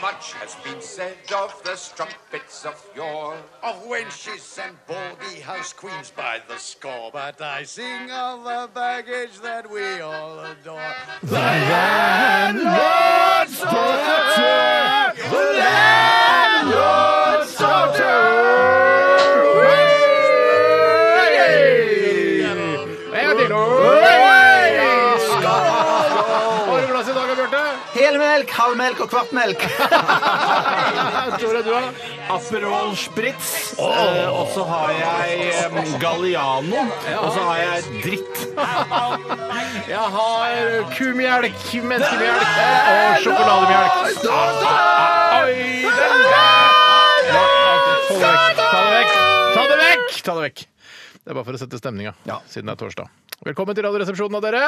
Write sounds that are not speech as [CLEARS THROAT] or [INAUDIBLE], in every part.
Much has been said of the strumpets of yore, of wenches and baldy house queens by the score. But I sing of the baggage that we all adore. Helmelk, halvmelk og kvartmelk. [LAUGHS] Tore, du har Aperol Spritz. eh, Og så har jeg eh, Galliano. Og så har jeg dritt. Jeg har kumelk, menneskemelk eh, og sjokolademelk. Oi, den der! Ja, Ta det vekk! Ta det vekk! Ta det vekk! Det er bare for å sette stemninga, siden det er torsdag. Velkommen til Radioresepsjonen av dere.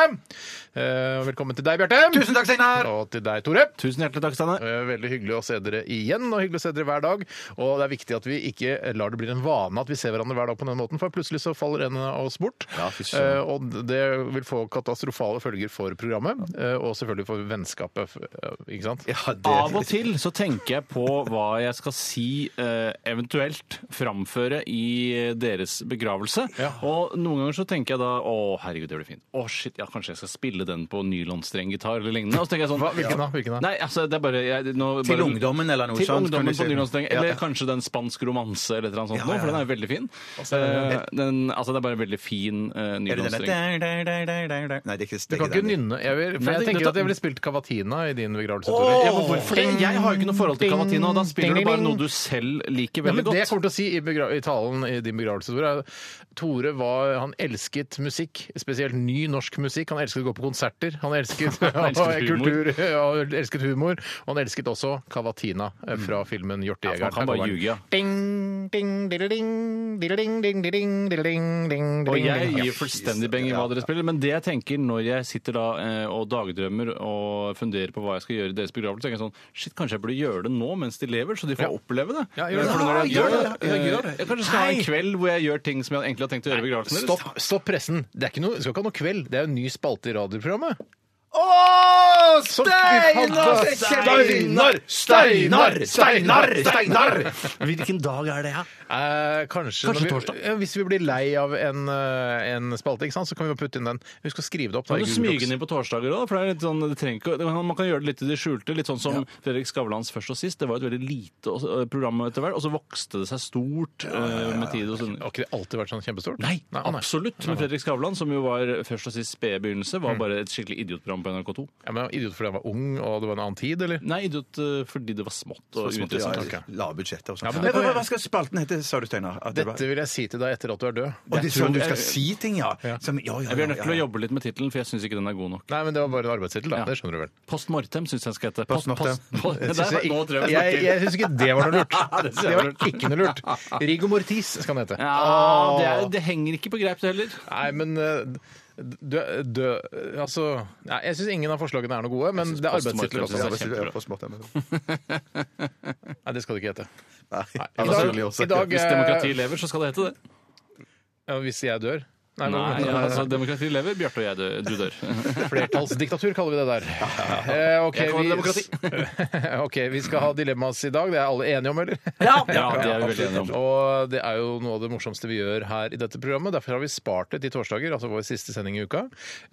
Eh, og Velkommen til deg, Bjarte. Tusen takk, Steinar. Og til deg, Tore. Tusen hjertelig takk, Steinar. Eh, Veldig hyggelig å se dere igjen, og hyggelig å se dere hver dag. Og det er viktig at vi ikke lar det bli en vane at vi ser hverandre hver dag på den måten, for plutselig så faller en av oss bort. Ja, fy søren. Eh, og det vil få katastrofale følger for programmet, eh, og selvfølgelig for vennskapet, f- eh, ikke sant? Av Av og til så tenker jeg på hva jeg skal si, eh, eventuelt framføre i deres begravelse. Ja. Og noen ganger så tenker jeg da å herregud, det blir fint. Å shit, ja, kanskje jeg skal spille den på nylonstrenggitar eller lignende. Og så tenker jeg sånn Hva, hvilken da? Hvilken da? Nei, altså, det er bare, jeg, nå, Til bare, ungdommen eller noe Til sånt, kan ungdommen du på si. nylonstreng. Ja, Eller ja. kanskje den spansk romanse eller et eller annet sånt, Ja, nå, ja, for den ja. er jo veldig fin. Eh, den, altså, det er bare en veldig fin uh, Er det den nylonstreng. der? Der, der, der, der, der. Nei, det er ikke Du kan ikke nynne. Jeg vil, for Nei, jeg det- tenker det- at jeg ville spilt Cavatina i din begravelse, Ja, Tore. men hvorfor det? Jeg har jo ikke noe forhold til Cavatina. og Da spiller du bare noe du selv liker Ja, men veldig det jeg godt. kommer til å si i, begra i talen i din begravelse, Tore, er at Tore var, han elsket musikk, spesielt ny norsk musikk. Han elsket å gå på konserter, han [LAUGHS] elsket, [LAUGHS] Han elsket humor. kultur, ja, han elsket humor. Og han elsket også Cavatina eh, fra filmen Mm. Ja, for Hjortejegeren. han kan Her bare kommer den. ljuge, ja. Ding, ding, diddeling, diddeling, ding, diddeling, diddeling, ding, Og diddeling, jeg ding. Ja. gir fullstendig beng i hva dere spiller, men det jeg tenker når jeg sitter da eh, og dagdrømmer og funderer på hva jeg skal gjøre i deres begravelse, tenker jeg sånn Shit, kanskje jeg burde gjøre det nå mens de lever, så de får oppleve det. Ja, gjør det. For når jeg Ja, dør, gjør det. Ja, gjør det. eh, Jeg kanskje skal ha en kveld hvor jeg gjør ting som jeg egentlig har tenkt å gjøre i begravelsen deres. Stopp, stopp pressen. Det, er ikke noe, det skal ikke ha noe kveld. Det er jo en ny spalte i radioprogrammet. Å, Som vi hadde. Steinar! Steinar! Steinar! Hvilken dag er det, ja? Eh, Kanskje kanskje når vi, torsdag. Ja, hvis vi blir lei av en, eh, en spalte, ikke sant? så kan vi jo putte inn den. Husk å skrive det opp. da, Kan i du Google Docs. smyge den inn på torsdager òg? For det er litt sånn, det trenger ikke, man kan gjøre det litt i det skjulte. Litt sånn som Fredrik Skavlans Først og sist. Det var et veldig lite eh, program etter hvert, og så vokste det seg stort eh, med tid og stunder. Har ikke det alltid vært sånn kjempestort? Nei, å nei. Mm. absolutt. Men Fredrik Skavlan, som jo var først og sist spede begynnelse, var bare et skikkelig idiotprogram på NRK2. Ja, men Idiot fordi han var ung og det var en annen tid, eller? Nei, idiot eh, fordi det var smått og uinteressant. ok. Lave budsjetter og Ja, sånn. men Nei, det- Hva hva skal spalten hete, sa du, Steinar? At det var- Dette vil jeg si til deg etter at du er død. Å, det er sånn du tror- skal si ting, ja. Som, ja, ja, Jeg blir nødt til å ja, ja. jobbe litt med tittelen, for jeg syns ikke den er god nok. Nei, men det var bare en arbeidstittel, da. Ja. Det skjønner du vel. Post mortem syns jeg den skal hete. Post mortem. post- Jeg [LAUGHS] Der, synes jeg, nå ikke- tror jeg vi jeg, snakker. jeg syns ikke det var noe [LAUGHS] lurt. det synes jeg Det var var lurt. ikke noe [LAUGHS] lurt. Riggo Mortis skal han hete. Ja, det, er, det henger ikke på greip, det heller. Nei, men eh, dø, dø, Altså nei, Jeg syns ingen av forslagene er noe gode, men synes det er post arbeidstitler mortem også. synes jeg er Ja, på smått, ja, [LAUGHS] men- Nei, det skal det ikke hete. Nei, I det er dag- selvfølgelig også. i dag- Hvis demokratiet lever, så skal det hete det. Ja, hvis jeg dør? Nei, Nei, men- altså, demokratiet lever. Bjarte og jeg, dø- du [LAUGHS] dør. Flertallsdiktatur kaller vi det der. Eh, ok, Jeg kaller det vi, [LAUGHS] ok, vi skal ha dilemmas i dag. Det er alle enige om, eller? Ja, det er vi veldig enige om. Og det er jo noe av det morsomste vi gjør her i dette programmet. Derfor har vi spart det til torsdager, altså vår siste sending i uka.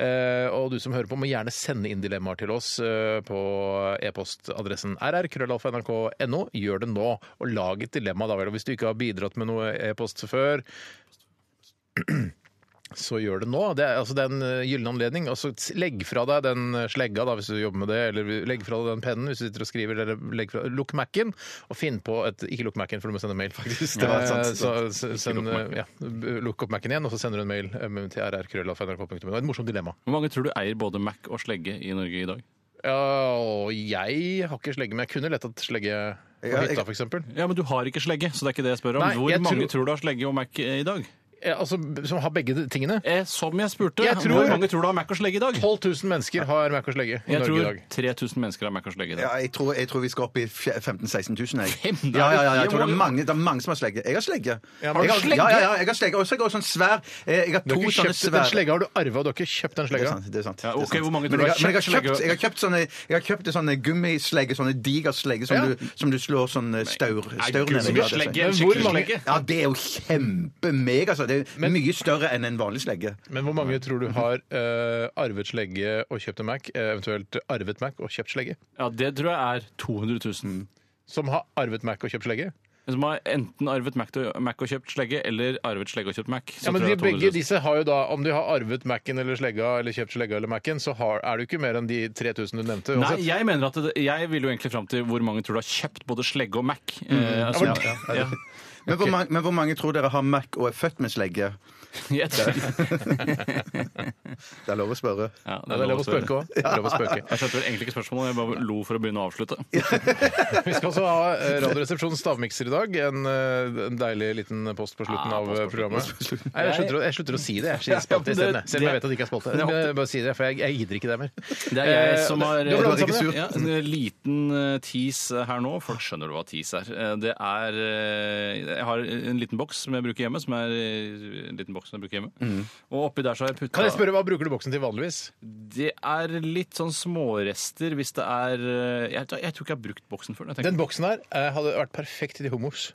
Eh, og du som hører på, må gjerne sende inn dilemmaer til oss eh, på e-postadressen rrkrøllalfa.nrk.no. Gjør det nå, og lag et dilemma da vel. Og hvis du ikke har bidratt med noe e-post før, så gjør det nå. Det er, altså, det er en eh, gyllen anledning. Og så s- legg fra deg den eh, slegga da, hvis du jobber med det, eller legg fra deg den pennen hvis du sitter og skriver. Eller legg fra, lukk Mac-en, og finn på et Ikke lukk Mac-en, for du må sende mail, faktisk. [LAUGHS] Det var sant, Eh, så, s- send, eh, ja, b- lukk opp Mac-en igjen, og så sender du en mail eh, til rrkrøllalfa.nrk.no. Et morsomt dilemma. Hvor mange tror du eier både Mac og slegge i Norge i dag? Ja, og jeg har ikke slegge, men jeg kunne lett hatt slegge på Ja, jeg- hytta, f.eks. Ja, men du har ikke slegge, så det er ikke det jeg spør om. Nei, Hvor jeg mange tror- tror du har slegge og Mac eh, i dag? eh, altså, b- som har begge de tingene. Eh, som jeg spurte, Jeg tror- hvor mange tror du har Mac og slegge i dag? 12 000 mennesker har Mac og slegge i Jeg Norge i tror dag. 3000 mennesker har Mac og slegge i Ja, dag. jeg, tror, jeg tror vi skal opp i 15 000-16 000. Jeg. Fem? Ja, ja, ja, jeg tror det er mange, det er mange som har slegge. Jeg har slegge. Ja, men- Jeg Har du slegge? Ja, ja, ja, jeg har slegge. Og så har jeg også en svær eh, Jeg har Du to har ikke sånne kjøpt den svære slegga, har du arva, du har ikke kjøpt den det er slegga. sant. det er sant. Ja, ok, det er sant. hvor mange tror men du har jeg, har- men jeg har kjøpt kjøpt, jeg har kjøpt sånne, jeg har kjøpt sånne gummislegge, sånne diger slegge som, Ja. du, som du slår sånn eh, staur staur ned i. Ja, det er Men hvor Gummislegge, en sant. skikkelig mange- slegge. Ja, det er jo kjempemega. Altså. Det er mye større enn en vanlig slegge. Men hvor mange tror du har eh, arvet slegge og kjøpt en Mac, eh, eventuelt arvet Mac og kjøpt slegge? Ja, det tror jeg er 200 000. Som har arvet Mac og kjøpt slegge? Som har enten arvet Mac, og- Mac og kjøpt slegge, eller arvet slegge og kjøpt Mac. Så Ja, men tror de, jeg det er begge 200 000. disse har jo da, Om de har arvet Mac-en eller slegga, eller kjøpt slegga eller Mac-en, så har, er det jo ikke mer enn de 3000 du nevnte. Nei, uansett. jeg mener at det, jeg vil jo egentlig fram til hvor mange tror du har kjøpt både slegge og Mac. Eh, altså, Ja, ja, ja. Men hvor, mange, men hvor mange tror dere har Mac og er født med slegge? Jeg tror- Det er lov å spørre. Ja, Ja, det er lov å spøke òg. Lov å spøke. [LAUGHS] Jeg skjønte vel egentlig ikke spørsmålet, jeg bare lo for å begynne å avslutte. [LAUGHS] Vi skal også ha eh, Radioresepsjonens stavmikser i dag. En, eh, en deilig liten post på slutten Ja, av post på eh, programmet. Nei, jeg, slutter å, jeg slutter å si det. Jeg sier Ja, spalte det- isteden. jeg. Selv om jeg det- vet at det ikke er spalte. det er Men jeg Bare si det, for jeg, jeg gidder ikke det mer. Det er jeg som har eh, Du har blandet sammen, ja, en liten eh, tis her nå. Folk skjønner du hva tis er. Eh, Det er eh, Jeg har en liten boks som jeg bruker hjemme. Som er eh, en liten boks som jeg bruker hjemme. Og oppi der så har jeg putta Mm. Kan jeg spørre, Hva bruker du boksen til vanligvis? Det er litt sånn smårester hvis det er eh, Jeg, jeg tror ikke jeg har brukt boksen før. Jeg tenker- Den boksen her eh, hadde vært perfekt til de homos.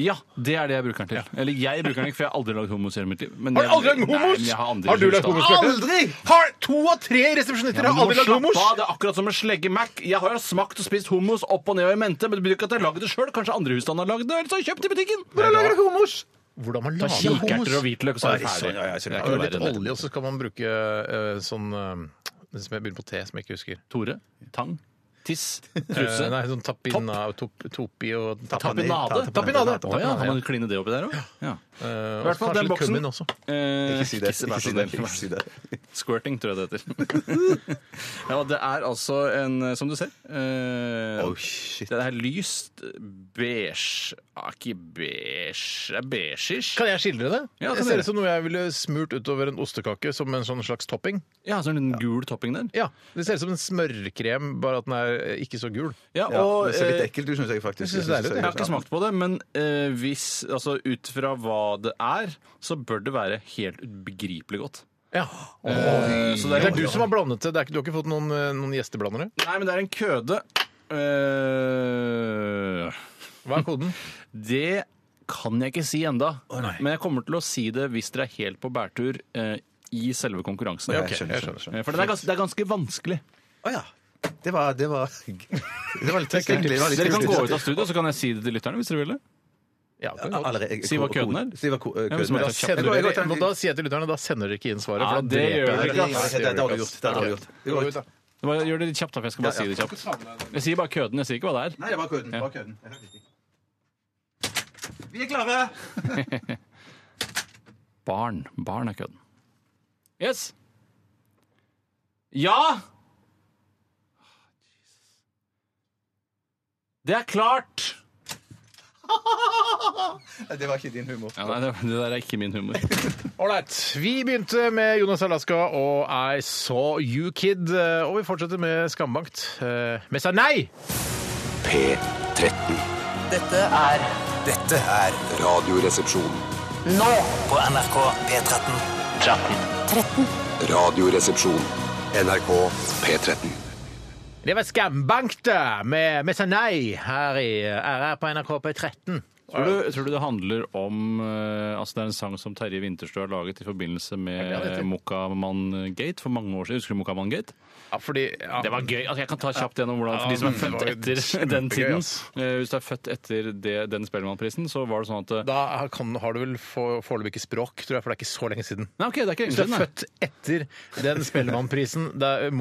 ja, det er det jeg bruker den til. Eller jeg bruker den ikke, for jeg har aldri lagd hummus i hele mitt liv. Men Har du jeg- aldri lagd Nei, hummus? men jeg har, andre Har du lagd hummus, da. hummus? Aldri! Har to av tre resepsjonister Ja, har men du aldri må lagd slappe homos! av, Det er akkurat som en slegge Mac. Jeg har jo smakt og spist hummus opp og ned og i mente, men det betyr ikke at jeg har lagd det sjøl. Kanskje andre husstander har lagd det, eller så har jeg kjøpt det i butikken. Hvordan lager dere homos? Hvordan man Ta lager kikerter og hummus? hvitløk, og så er det Oi, sånn, ferdig. ja, ja, Det er sånn, ja. ikke noe Litt verre enn det. olje, og så skal man bruke eh, sånn eh, det som jeg begynner på T, som jeg ikke husker. Tore, tang, tiss, Eh, truse. nei, sånn tapina, top, topi og Tapinade. Tapinade. Å ja, kan man kline det oppi der òg? Ja. Eh, I hvert fall den boksen. Også. Eh, Ikke si det. kiss, Ikke vær si så det. snill. Ikke si det. Squirting, tror jeg det heter. [LAUGHS] ja, det er altså en, eh, som du ser eh, Oh, shit. Det er lyst beige ah, Ikke beige Det er beige-ish. Kan jeg skildre det? Ja, det kan dere. ser ut som noe jeg ville smurt utover en ostekake som en sånn slags topping. Ja, så en liten gul topping der. Ja, Det ser ut som en smørkrem, bare at den er eh, ikke så gul. Ja, Ja, og, det ser litt eh, ekkelt ut, syns jeg faktisk. synes det er litt- Jeg har ikke smakt på det, men eh, hvis, altså, ut fra hva det er, så bør det være helt ubegripelig godt. Ja. Eh, så det Det er, er du som har blandet det. det er ikke, du har ikke fått noen, eh, noen gjesteblandere? Nei, men det er en køde. Eh, Hva er koden? det kan jeg ikke si enda, men jeg kommer til å si det hvis dere er helt på bærtur eh, i selve konkurransen. ok, jeg skjønner, Eh, For det er, gans det er ganske vanskelig. Å ja. Det var Det var, det var litt trist, egentlig. Det var litt Dere kan trist. gå ut av studio, så kan jeg si det til lytterne hvis dere vil det. Ja, det er godt. Allerede- jeg- Si hva køden er. Si hva ko- Ja, køden men så må er. jeg Da ta kjapt. sender Jeg går- jeg går dere, til- nå, da sier jeg til lytterne da sender dere ikke inn svaret. Ja, for da det dreper gjør jeg dere dere. ikke, ass. Ja, Det er dårlig gjør gjort. Det er dere, dårlig ass. gjort. Det går ut, da. Bare gjør det litt kjapt, da, for jeg skal bare si det kjapt. Jeg sier bare køden, jeg sier ikke hva det er. Nei, det var køden. Det var køden. Jeg hørte ikke. Vi er klare! Barn. Barn er kødden. Yes. Ja! Det er klart! Nei, Det var ikke din humor. Ja, nei, det, det der er ikke min humor. Ålreit. Vi begynte med Jonas Alaska og I Saw You Kid. eh, Og vi fortsetter med Skambankt. Eh, Men sa nei! P13. Dette er Dette er Radioresepsjon. nå på NRK P13. Radioresepsjon. NRK P13. Det var Skambankt da, med Men sa nei her i RR på NRK på 13. Tror du, tror du det handler om eh, Altså, det er en sang som Terje Winterstø har laget i det forbindelse han med heter? Mokkamann Gate for mange år siden. Husker du Mokkamann Gate? Ja, fordi ja, Det var gøy. Altså, jeg kan ta kjapt gjennom hvordan Ja, for de som er men det født var jo etter den kjempegøy, tiden. ass. eh, Hvis du er født etter det, den Spellemannprisen, så var det sånn at eh, Da kan, har du vel få- foreløpig ikke språk, tror jeg, for det er ikke så lenge siden. Nei, OK, det er ikke lenge Hvis du siden. er nei. født etter den Spellemannprisen, det er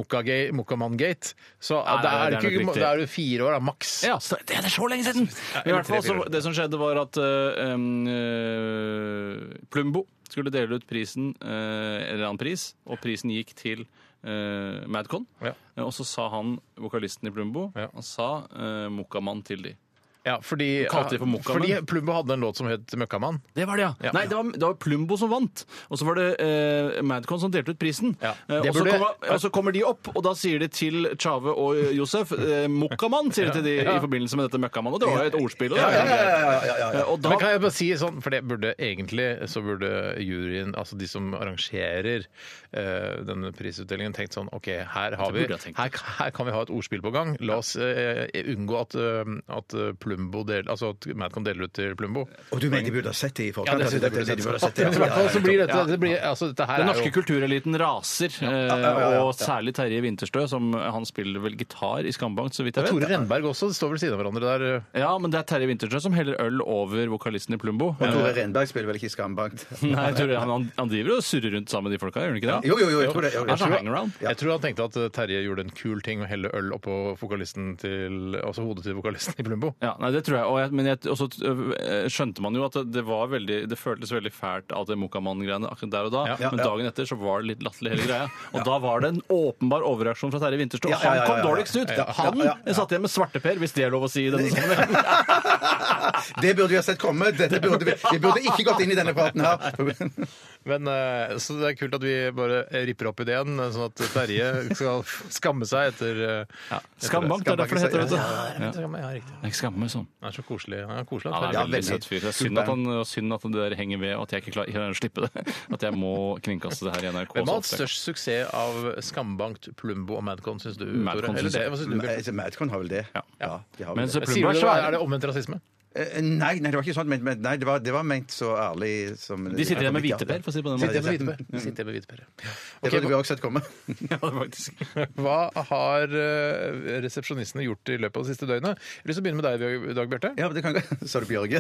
Mokkamann-gate, så Nei, da er det er du ikke- nok riktig. da er du fire år, da, maks. Ja, så, det er så lenge siden! I hvert fall, så, tre-fire år. Det som skjedde, var at eh, em, eh, Plumbo skulle dele ut prisen, eh, en eller annen pris, og prisen gikk til eh, Madcon. Ja. Eh, Og så sa han, vokalisten i Plumbo, Ja. han sa uh, Mokkamann til de. Ja, fordi, kalte de for Mokkamann? fordi Plumbo hadde en låt som het Møkkamann. Det var det, ja. Ja. Nei, det var, det var Plumbo som vant. Og så var det eh, Madcon som delte ut prisen. Ja, Eh, det og, så burde- kommer, og så kommer de opp, og da sier de til Tjave og Josef eh, Mokkamann, sier de til de i forbindelse med dette Møkkamann. Og det var jo et ordspill. da. Eh, Og da Men kan jeg bare si sånn, for det burde egentlig så burde juryen, altså de som arrangerer eh, denne prisutdelingen, tenkt sånn OK, her, har vi, burde jeg tenkt. her, her kan vi ha et ordspill på gang. La oss eh, unngå at, eh, at Plumbo del, altså at Madcon deler ut til Plumbo. Og du mener de burde ha sett det i forkant? Ja, det synes jeg Altså, burde sett. Men de sett det, i ja. hvert fall så blir dette, det blir, altså, dette her Den er norske jo kultureliten raser, eh, ja, ja. og særlig Terje Winterstø, som han spiller vel gitar i Skambank, så vidt jeg Tore vet. Renberg også, de står vel siden av hverandre der. eh. Ja, men det er Terje Winterstø som heller øl over vokalisten i Plumbo. Og Eh, Tore Renberg spiller vel ikke i Skambank? Nei, Tore, han, han driver og surrer rundt sammen med de folka, gjør han ikke det? Jo, jo, jo, jeg tror det. Jo, Han er jeg sånn tror- hangaround. Jeg tror han tenkte at eh, Terje gjorde en kul ting å helle øl oppå vokalisten til, altså hodet til vokalisten i Plumbo. Ja, nei, det tror jeg. Og jeg, men jeg, og så øh, skjønte man jo at det var veldig Det føltes veldig fælt, alt det Mokamann-greiene akkurat der og da. Ja, ja, men ja. dagen etter så var det litt latterlig, hele [LAUGHS] greia. Og da var det en åpenbar overreaksjon fra Terje Winterstå. Ja, ja, ja, ja, Han kom ja. dårligst ut! Ja, ja, Han ja, ja. satt igjen med svarteper, hvis det er lov å si i denne sammenhengen. Det burde vi ha sett komme. Dette burde vi, vi burde ikke gått inn i denne praten her. Men, eh, så det er kult at vi bare ripper opp ideen, eh, sånn at Terje skal [LAUGHS] skamme seg etter Ja, Skambank, det er derfor det heter, vet du. vet du. Ja, riktig. Jeg skammer meg sånn. Han er så koselig. Han er koselig. Han er Terje. en veldig veldig. søt fyr. Det er synd at, han, og synd at det der henger ved, og at jeg ikke klarer [LAUGHS] å slippe det. At jeg må kringkaste det her i NRK. Hvem har så hatt ofte jeg størst suksess av Skambankt, Plumbo og Madcon, syns du? Madcon Tore? Eller synes jeg. det, hva synes du? Bjørn? Madcon har vel det. Ja, de har vel Men så det. Sier Plumbo er du det, svære. Er det omvendt rasisme? Eh, Nei, nei, det var ikke sånn ment. men- Nei, det var, det var ment så ærlig som De sitter igjen med hviteper, for å si det på den Sitter jeg måten. med hviteper? Sitter jeg med hviteper, ja. Det burde vi også sett komme. [LAUGHS] Ja, faktisk. Hva har eh, resepsjonistene gjort i løpet av det siste døgnet? Jeg har lyst til å begynne med deg i dag, Bjarte. Ja, men det kan gå. [LAUGHS] Sa du Bjørge?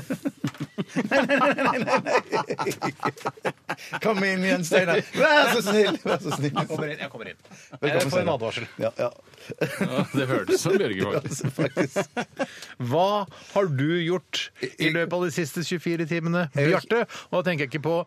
Kom inn igjen, Steinar. Vær så snill! Vær så snill. inn. jeg kommer inn. Velkommen, Jeg får en Steinar. advarsel. Ja, ja. Ja, det hørtes som Bjørge, faktisk. Faktisk. Hva har du gjort i løpet av de siste 24 timene, Bjarte? Og da tenker jeg ikke på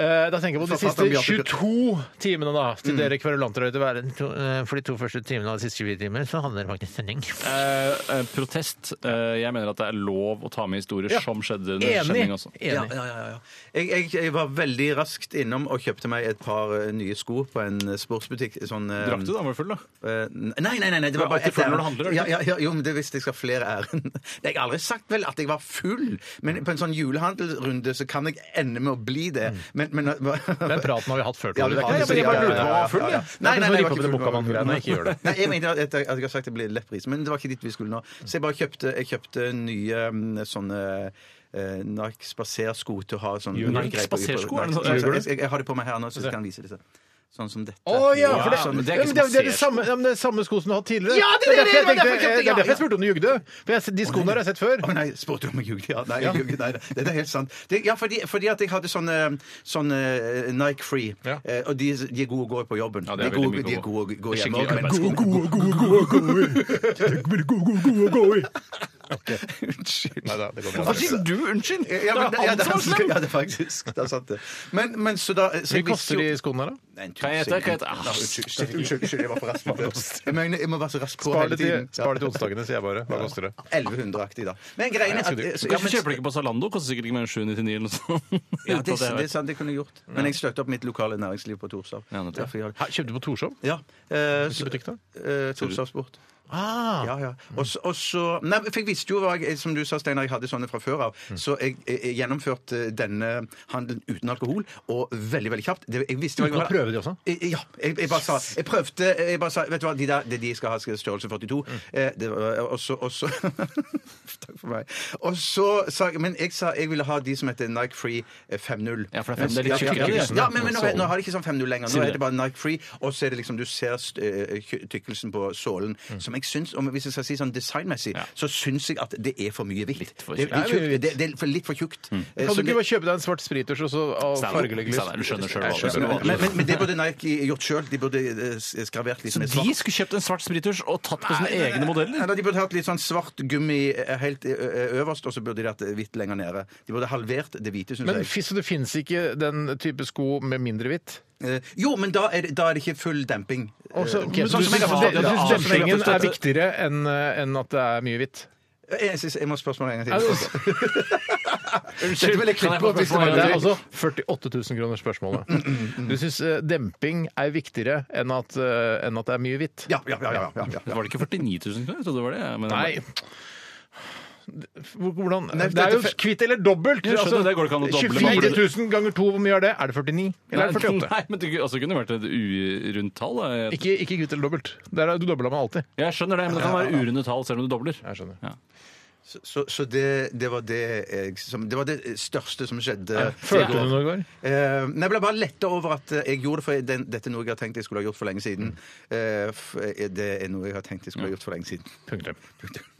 eh, da tenker jeg på de siste Forfatter Bjarte 22 timene, da. Til dere kverulanter der ute. være- to- eh, For de to første timene av de siste 24 timene så handler det faktisk sending. Eh, eh, protest. Eh, jeg mener at det er lov å ta med historier Ja. som skjedde under Enig! skjønning også. Ja, Enig. ja, ja, ja. Jeg, jeg, jeg var veldig raskt innom og kjøpte meg et par eh, nye sko på en eh, sportsbutikk. Sånn, eh, Drakk du da? Var du full, da? Eh, Nei, nei, nei, nei, det Du er var bare alltid ett full når ærend. du handler, er du Ja, ikke? ja, ja, jo, men det visste jeg skal ha flere [LAUGHS] ærend. Jeg har aldri sagt vel at jeg var full, men på en sånn julehandelrunde så kan jeg ende med å bli det. Men, men, Den praten har vi hatt før. Ja, Tore. du Det er har ikke det, så- ja, ja, ja, ja, ja, ja, ja, ja. ja. Nei, nei, nei, jeg var ikke full. ikke gjør det. Nei, jeg mente at jeg, at jeg har sagt det blir lettpris, men det var ikke dit vi skulle nå. Så jeg bare kjøpte, jeg kjøpte nye mm, sånne eh, Nike spasersko til å ha sånn Nike greier på- spasersko? Nike- Er det sånn- Ja, Gjør du jeg, jeg, jeg har det på meg her nå, så jeg kan vise disse. Sånn som dette. Å ja, for det, Ja, men det, det er er ikke det, er det, spasersko. samme, ja, men det er samme sko som du har hatt tidligere. Ja, det er det, derfor jeg det var tenkte- derfor det jeg kjøpte, ja, er derfor jeg ja. spurte om du jugde. For jeg, de skoene har jeg sett før. Å nei, spurte du om jeg jugde? Ja, nei, jeg jugde, nei, det er helt sant. Det, ja, fordi, fordi at jeg hadde sånne, sånne eh, Nike Free, Ja. eh, og de, de er gode å gå på jobben. Ja, det er de, gode, veldig mye de er gode. gode å gå Det er skikkelig hjemme også, men- arbeidssko. Gode, gode, gode, gode, Unnskyld. Neida, det går bra. Hva sier du? Unnskyld! altså, Ja, men, det ja, er det han er som er slem! faktisk, ja, det er faktisk det er sant, det. Men, men så da Hvor så jeg mye visste koster jo- de skoene her, da? Nei, en tusen. Kan jeg hete? Kan jeg hete? Ah, Ja, Unnskyld, shit, unnskyld, unnskyld, jeg var for rask på det. Jeg, mener, jeg må være så rask på Spar hele det til, tiden. spar det til onsdagene, sier jeg bare. Hva koster det? 1100-aktig, da. Men greiene er at så- Hvorfor kjøper du ikke på Zalando? Koster sikkert ikke mer enn 799 eller noe [LAUGHS] sånt. Uten Ja, det, at jeg det er vet. sant, det kunne jeg gjort. Men jeg støtter opp mitt lokale næringsliv på Torshov. Ja, nettopp. Derfor jeg har det. Hæ, Kjøpte du på Torshov? Ja. eh, så- Hvilken butikk da? eh, Torshov Sport. Ah, Ja, ja. Og så- og så Nei, for jeg visste jo hva jeg, som du sa, Steinar, jeg hadde sånne fra før av. Mm. Så jeg, jeg, jeg gjennomførte eh, denne handelen uten alkohol, og veldig, veldig kjapt. Det, jeg visste jo Du kan prøve de også. Jeg- jeg- Ja. Jeg, jeg bare sa Jeg prøvde eh, Jeg bare sa Vet du hva, de der det de skal ha, skal ha størrelse 42. Mm. Eh, det var, og så og så- [LAUGHS] Takk for meg. Og så sa jeg Men jeg sa jeg ville ha de som heter Nike Free eh, 5.0. Ja, for det er fem- det er litt Ja, ja, tykkere, ja. det. Ja, men, men nå, nå har de ikke sånn 5.0 lenger. Sier Nå du er det? det bare Nike Free, og så er det liksom Du ser eh, kj- tykkelsen på sålen, som jeg syns om, Hvis jeg skal si sånn designmessig, Ja. så syns jeg at det er for mye hvitt. Litt for Det, tjukt. det, er Ja, det er tjukt. det, det er for litt for tjukt. Eh, Kan så du ikke det- bare kjøpe deg en svart sprittusj og så og Steinar, fargelege lys? Steinar, du skjønner selv Jeg hva skjønner. du men, men, men det burde Nike gjort sjøl. De burde eh, skravert litt med svart. De skulle kjøpt en svart sprittusj og tatt på sine egne modeller. Eller de burde hatt litt sånn svart gummi eh, helt ø- ø- øverst, og så burde de hatt hvitt lenger nede. De burde halvert det hvite, syns Men jeg. fy, så det fins ikke den type sko med mindre hvitt? Eh, Jo, men da er, det, da er det ikke full demping. Eh, Også, men okay, så sånn du som jeg syns har det, det da. er avsløring at dempingen du er støtter- viktigere enn eh, enn at det er mye hvitt? Jeg, synes, jeg må spørsmålet en gang Ja, til. det- Dette vil jeg klippe Kan jeg få opp hvis det spørsmål? var det er det. altså 48 000 kroner spørsmålet. Mm, Du syns demping er viktigere enn at, eh, enn at det er mye hvitt? Ja, ja, ja, ja, ja, ja. Var det ikke 49 000 kroner? Jeg trodde det var det. Men Nei. Hvor- Hvordan? Nei, det er jo dette- kvitt eller dobbelt! Jeg skjønner, altså, det går ikke an å doble. 24 000 ganger 2, hvor mye er det? Er det 49? Eller er det 48? Nei, men det kunne- altså, kunne vært et urundt tall. da. Jeg, Ikke, ikke kvitt eller dobbelt. Det er, du dobler meg alltid. jeg skjønner det, men det kan være urunde tall selv om du dobler. Jeg skjønner. Så, så det, det var det jeg som Det var det største som skjedde. Følte du noe i går? Eh, nei, jeg ble bare letta over at eh, jeg gjorde det, for den, dette er noe jeg har tenkt jeg skulle ha gjort for lenge siden. Mm. Eh, f- eh, det er noe jeg har tenkt jeg skulle ha gjort for lenge siden. Punktum.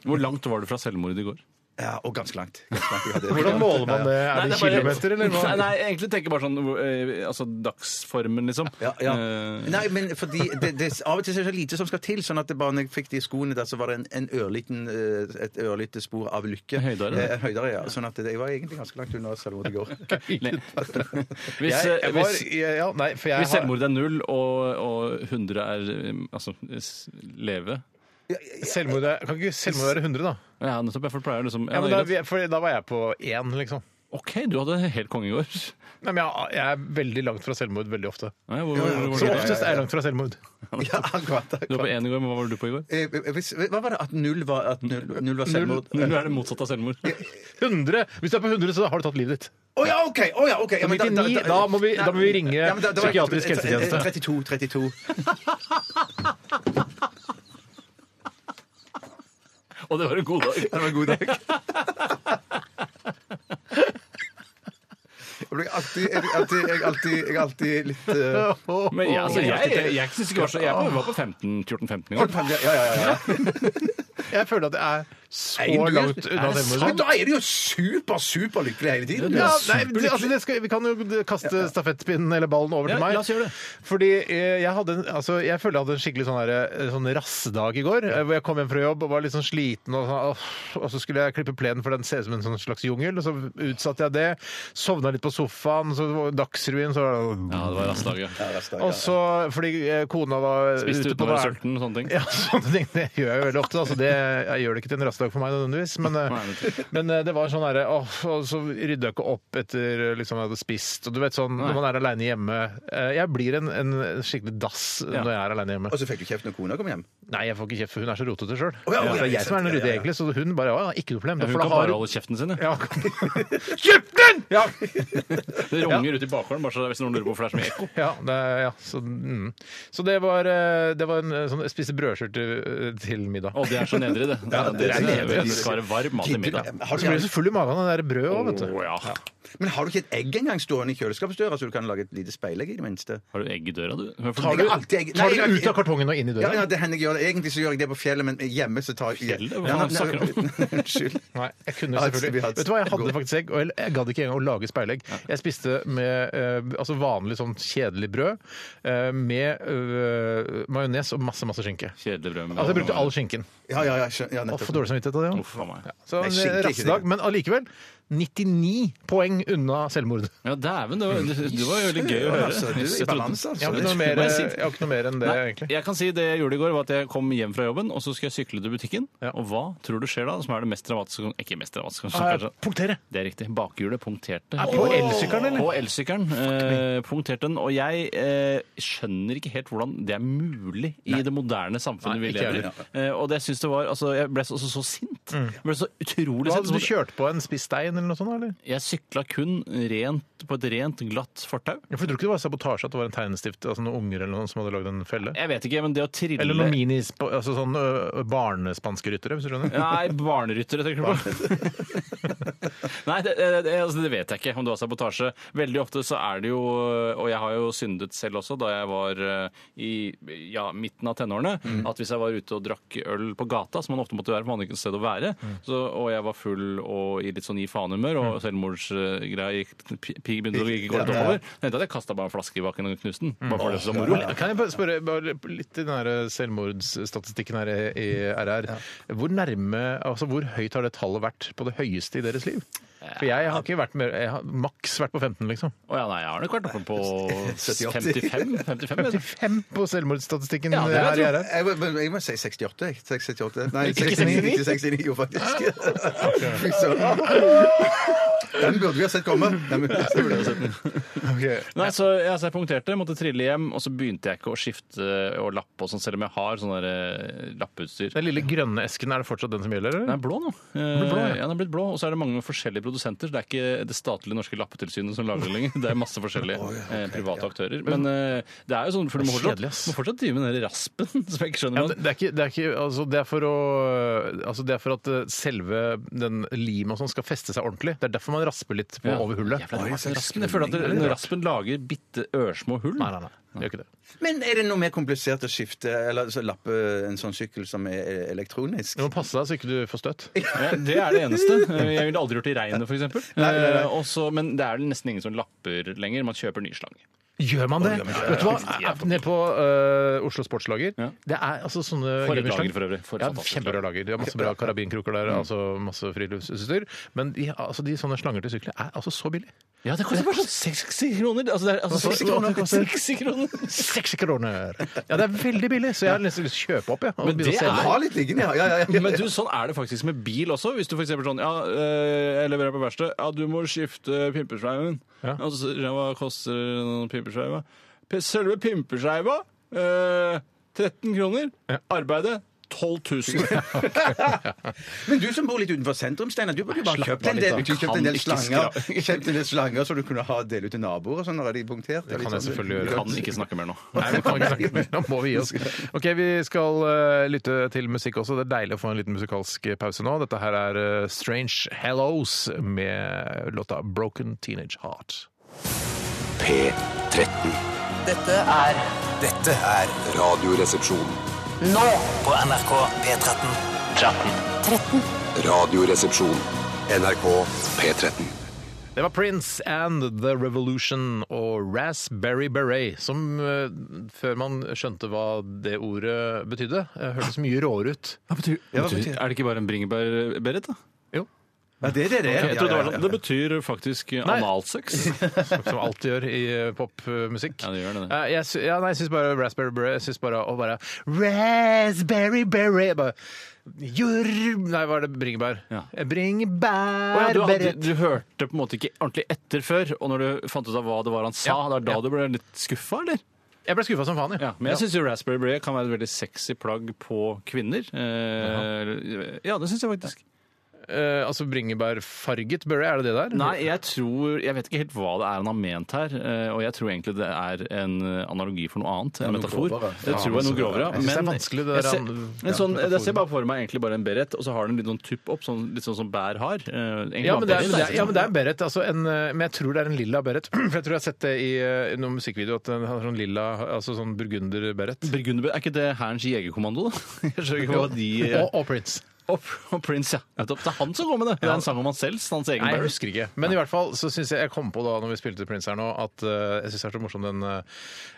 Hvor langt var du fra selvmord i går? Ja, og ganske langt. Ganske langt jeg hadde- Hvordan måler man det? Er det bare- kilometer, eller Nei, [LAUGHS] hva? nei, jeg egentlig tenker bare sånn eh, altså, dagsformen, liksom. Ja, ja. Eh, Nei, men fordi det, det, av og til så er det så lite som skal til. Sånn at det bare når jeg fikk de skoene der, så var det en, en ørliten, eh, et ørlite spor av lykke. Høydere, Eh, da. høydere ja. Sånn at det, jeg var egentlig ganske langt unna selvmord i går. [LAUGHS] hvis, Jeg, eh, jeg var, hvis, ja, nei, for jeg hvis har selvmord er null, og, og 100 er eh, altså, s- leve Selvmord er, kan ikke selvmord være 100, da? Ja, nettopp. Jeg pleier liksom ja, Ja, men det da, er greit. vi- for da var jeg på én, liksom. OK, du hadde helt konge i går. [LAUGHS] Nei, men jeg, jeg er veldig langt fra selvmord veldig ofte. Nei, hvor, hvor, hvor, Så oftest er jeg langt fra selvmord. Ja, akkurat, Du var på akkurat. én i går, men hva var du på i går? Eh, hvis, hva var det at null var, at null, null var Null, selvmord? null er det motsatte av selvmord. 100! Hvis du er på 100, så har du tatt livet ditt. Å ja, OK! Å ja, ok. Ja, men 99, da må vi- da må vi ringe men da- eh, da var- psykiatrisk helsetjeneste. 32, 32. [LAUGHS] Og det var en god dag. Det var en god dag. Jeg blir alltid, jeg, blir alltid, jeg, er alltid, jeg er alltid litt [LAUGHS] eh, Men jeg, altså, jeg, jeg, jeg synes ikke det var så Jeg var- var på 15, 14-15 i går. Ja, ja, ja. ja. Jeg føler at jeg er så Nei, du- langt unna Men selvmord. da er de jo super, super lykkelige hele tiden. Ja, nei, men det- altså, det skal, vi kan jo kaste stafettpinnen eller ballen over Ja, til meg. la oss gjøre det. Fordi eh, jeg, hadde en, altså, jeg føler jeg hadde en skikkelig sånn, her, eh, sånn rassedag i går. eh, Hvor jeg kom hjem fra jobb og var litt sånn sliten, og, sånn, «Åh», og så skulle jeg klippe plenen, for den ser ut som en sånn slags jungel. Og så utsatte jeg det. Sovna litt på sofaen, så var det sånn, Dagsrevyen, så Ja, det var rastdaget. altså. Og så, fordi eh, kona var Spiste ute uten på å være vær- sulten og sånne ting. [LAUGHS] Ja, sånne ting. Det gjør jeg jo veldig ofte. Altså, det, jeg gjør det ikke til en rastdag for meg nødvendigvis, men, eh, [LAUGHS] men eh, det var sånn herre åh, Og så rydda jeg ikke opp etter eh, liksom, jeg hadde spist. Og du vet sånn når man er aleine hjemme eh, Jeg blir en, en skikkelig dass når jeg er aleine hjemme. Og så fikk du kjeft når kona kom hjem. Nei, jeg får ikke kjeft, for hun er så rotete sjøl. Å, ja, å, ja, det er jeg som er den ja, ja, ryddige, ja. egentlig, så hun bare ja, ikke noe problem. Hun for da kan har bare hun- holde kjeften sin. ja. ja, [LAUGHS] Kjeft den! Ja. Det runger ut i bakgården bare så hvis noen lurer på hvorfor det er så mye ekko. [LAUGHS] Ja, det, ja. Så, mm. så det var, eh, det var en eh, sånn Jeg spiste brødskjorte eh, til middag. Å, det er så nedrig, det. Ja, det, er nedrig. Vi skal være varm mat til middag. Har Så ble du du, så full i magen av det der brødet òg, vet du. Å, ja. men har du ikke et egg engang stående i kjøleskapsdøra, så du kan lage et lite speilegg i det minste? Har du egg i døra, du? Hvorfor- Tar du, Jeg har alltid egg- tar Nei, du jeg- ut av kartongen og inn i Ja, døra? ja, det hender jeg gjør det. Egentlig så gjør jeg det på fjellet, men hjemme så tar jeg Fjellet? Hva Ja, faen nei, snakker du om? nei, Unnskyld. Nei, jeg kunne Ja, vi selvfølgelig hadde- Vet du hva, jeg hadde faktisk egg, og jeg- jeg gadd ikke engang å lage speilegg. Jeg spiste med eh, altså vanlig sånn kjedelig brød eh, med eh, majones og masse, masse skinke. Kjedelig brød med Altså, jeg brukte all skinken. Ja, ja, ja, skjønner. ja Å, nettopp. for dårlig samvittighet av det òg. Uff a meg. Så Nei, en skinke er ikke rastedag, det. men allikevel 99 poeng unna selvmord. Ja, dæven, det var, det, det var jo veldig gøy å høre. Altså, du er i Jeg trodde- balanse, altså. Jeg har ikke noe det- mer, Hva jeg sier? jeg har ikke noe mer enn det, Nei, egentlig. jeg kan si det jeg gjorde i går, var at jeg kom hjem fra jobben, og så skulle jeg sykle til butikken. Og hva tror du skjer da, som er det mest dramatiske Ikke mest dramatiske, kanskje. Punktere! Det er riktig. Bakhjulet punkterte. altså. på elsykkelen, eller? På elsykkelen. Eh, punkterte den. Og jeg eh, skjønner ikke helt hvordan det er mulig i det moderne samfunnet Nei, vi ikke jeg Mm. lever i. Eh, og det jeg syns det var altså, Jeg ble så, så, så sint. Jeg ble så utrolig Hva, sint. hadde du kjørt på en spiss stein eller noe sånt? eller? Jeg sykla kun rent, på et rent, glatt fortau. Ja, for Du tror ikke det var sabotasje at det var en tegnestift, altså noen unger eller noen som hadde lagd en felle? Jeg vet ikke, men det å trille Eller noen minis, altså sånn ø, barnespanske ryttere, hvis du skjønner? Nei, barneryttere, tenker du på? [LAUGHS] Nei, det, det, altså, det vet jeg ikke om det var sabotasje. Veldig ofte så er det jo Og jeg har jo syndet selv også da jeg var eh, i ja, midten av tenårene. At hvis jeg var ute og drakk øl på gata, som man ofte måtte være, for man hadde ikke et sted å være, så, og jeg var full og i litt sånn i faenhumør, og selvmordsgreia gikk pi- pi- begynte å ikke gå litt oppover, hendte at jeg kasta bare en flaske i bakken og knuste den. Bare for det som moro. Kan jeg bare spørre bare litt i den her selvmordsstatistikken her eh, i i RR. Hvor nærme, altså hvor høyt har det tallet vært på det høyeste i deres liv? For jeg har ikke vært mer Jeg har maks vært på 15, liksom. Å ja, nei, jeg har nok vært oppe på 70-80. 55. 55 jeg tror. 55 på selvmordsstatistikken eh, Ja, det vil jeg her i tro. RR. Jeg, må- jeg må si 68. jeg. 68. Nei, Ikke 69. 69? Ikke 69, jo, [LAUGHS] faktisk. Fy søren. Den burde vi ha sett komme. Den burde vi ha sett komme. Nei, så jeg, altså, jeg punkterte, måtte trille hjem, og så begynte jeg ikke å skifte og lappe og sånn, selv om jeg har sånn der, eh, lappeutstyr. Den lille grønne esken, er det fortsatt den som gjelder? Den er Eller? blå nå. blå, ja. Eh, ja, den er blitt blå, Og så er det mange forskjellige produsenter. så Det er ikke det statlige norske lappetilsynet som lager det lenger. Det er masse [LAUGHS] forskjellige eh, private aktører. Men eh, det er jo sånn, for du må Det er fortsatt, kjedelig, ass. må fortsatt drive med den der raspen, [LAUGHS] som jeg ikke Ja, skjønner. men det er ikke, det er ikke altså det, er for å, altså det er for at eh, selve den lima og sånn skal feste seg ordentlig. Det er derfor man rasper litt på over hullet. Jævla rart, den raspen. Jeg føler at det- når raspen lager bitte ørsmå hull. Nei, nei, nei. Det gjør ikke det. Men er det noe mer komplisert å skifte eller altså, lappe en sånn sykkel som er elektronisk? Du må passe deg så ikke du får støtt. Ja, det er det eneste. [LAUGHS] Eh, Jeg ville aldri gjort det i regnet, f.eks. Nei, nei, nei. Men det er vel nesten ingen som lapper lenger. Man kjøper ny slange. Gjør man det? Vet du hva? Nede på eh, Oslo Sportslager Ja. Det er altså sånne For et gummislag. lager, for øvrig. For et ja, fantastisk kjempebra lager. De har masse bra karabinkroker der, Mm. altså masse friluftsutstyr. Men de, altså, de sånne slanger til sykler er altså så billig. Ja, det koster bare sånn 60 kroner! Altså, det er, altså, 60 kroner koster- 60 [LAUGHS] kroner. Seks [LAUGHS] kroner! Ja, det er veldig billig, så jeg har nesten lyst til å kjøpe opp, jeg. og Men begynne å det selge. er- Ha litt liggende, ja. ja, ja, ja. Men du, sånn er det faktisk med bil også. Hvis du for eksempel sånn Ja, eh, jeg leverer på verksted. Ja, du må skifte pimpersveiven. Ja. Og så sier jeg hva koster noen pimperskeiva? P- Selve pimperskeiva eh, 13 kroner. Arbeidet 12 [LAUGHS] 000. Men du som bor litt utenfor sentrum, Steinar, du burde jo bare Slapp kjøpt en av litt, del, da. du kjøpt en del Kan ikke slanger kjøpt en del slanger så du kunne ha dele ut til naboer og sånn når de er punktert. Det kan jeg selvfølgelig gjøre. Kan ikke snakke mer nå. sånn- [LAUGHS] Nei, vi kan ikke snakke mer. Da må vi gi oss. Ok, Vi skal eh, lytte til musikk også. Det er deilig å få en liten musikalsk eh, pause nå. Dette her er eh, Strange Hellos med låta Broken Teenage Heart. P13. Dette er Dette er Radioresepsjonen. nå på NRK P13. Radioresepsjon. NRK P13. Det var Prince and The Revolution og Raspberry Beret, som eh, før man skjønte hva det ordet betydde, eh, hørtes mye råere ut. Ja, hva betyr det? Er det ikke bare en bringebær-Berit, da? Ja, det er det det er. Jeg Ja, trodde det, ja, var sånn. ja. det [LAUGHS] betyr faktisk analsex. Som alt gjør i eh, popmusikk. Ja, det gjør det, det. Eh, Jeg, sy- ja, nei, jeg syns bare Raspberry Beret Jeg syns bare å bare Raspberry Beret bare, Jurv Nei, var det bringebær? Ja. Eh, Bringebær Å ja, du, hadde, Beret. du hørte på en måte ikke ordentlig etter før, og når du fant ut av hva det var han sa, Ja, det var da ja. du ble litt skuffa, eller? Jeg ble skuffa som faen, jeg. Ja, men jeg syns jo raspberry beret kan være et veldig sexy plagg på kvinner. Eh, ja, det syns jeg faktisk. Eh, altså bringebærfarget beret, er det det der? Nei, jeg tror Jeg vet ikke helt hva det er han har ment her, eh, og jeg tror egentlig det er en analogi for noe annet, en metafor. grovere. Det tror jeg er noe grovere, ja. Jeg synes det er vanskelig, det jeg der ser, an- en ja, sånn, jeg metaforen. ser bare for meg egentlig bare en beret, og så har den litt sånn tupp opp, sånn, litt sånn som bær har. Eh, egentlig Ja men, det er, men bare det er, beret, ja, men det er en beret. Altså en, eh, men jeg tror det er en lilla beret. [CLEARS THROAT] For jeg tror jeg har sett det i eh, noen musikkvideo at den har sånn lilla, altså sånn burgunder-beret. Burgunderbø, er ikke det Hærens jegerkommando, da? [LAUGHS] Jeg skjønner ikke hva de Og, og Prince. og, og Prince, ja. Nettopp. Det er han som går med det! Det er en sang om han selv. så Hans egen Nei, jeg Barry. husker ikke. Men i hvert fall så syns jeg jeg kom på da når vi spilte Prince her nå, at eh, jeg syns det er så morsom den eh,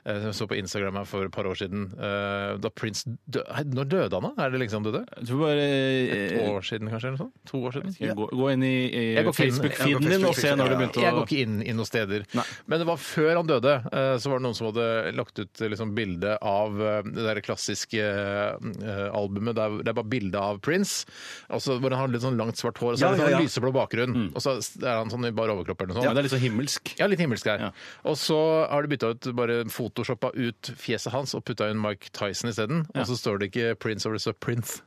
som jeg så på Instagram her for et par år siden. eh, da Prince dø Hei, Når døde han, da? Er det liksom døde? Jeg tror bare To eh, år siden, kanskje? eller noe sånt? To år siden? eh, gå, gå inn i, Jeg i går ikke inn- jeg Facebook-feeden går din og se når du begynte Jeg å går ikke inn i noen steder. Nei. Men det var før han døde, eh, så var det noen som hadde lagt ut eh, liksom, bilde av eh, det der klassiske eh, albumet. Det er, det er bare bilde av Prince, og så, hvor han har litt sånn langt, svart hår og så er det Ja, ja, sånn ja. lyseblå bakgrunn. Og så er han sånn i bar overkropp eller noe sånt. ja, Det er litt sånn himmelsk. Ja, litt himmelsk her. Ja. Og så har de bytta ut, bare photoshoppa ut fjeset hans og putta inn Mike Tyson isteden. Og så står det ikke Prince over det, står Prince.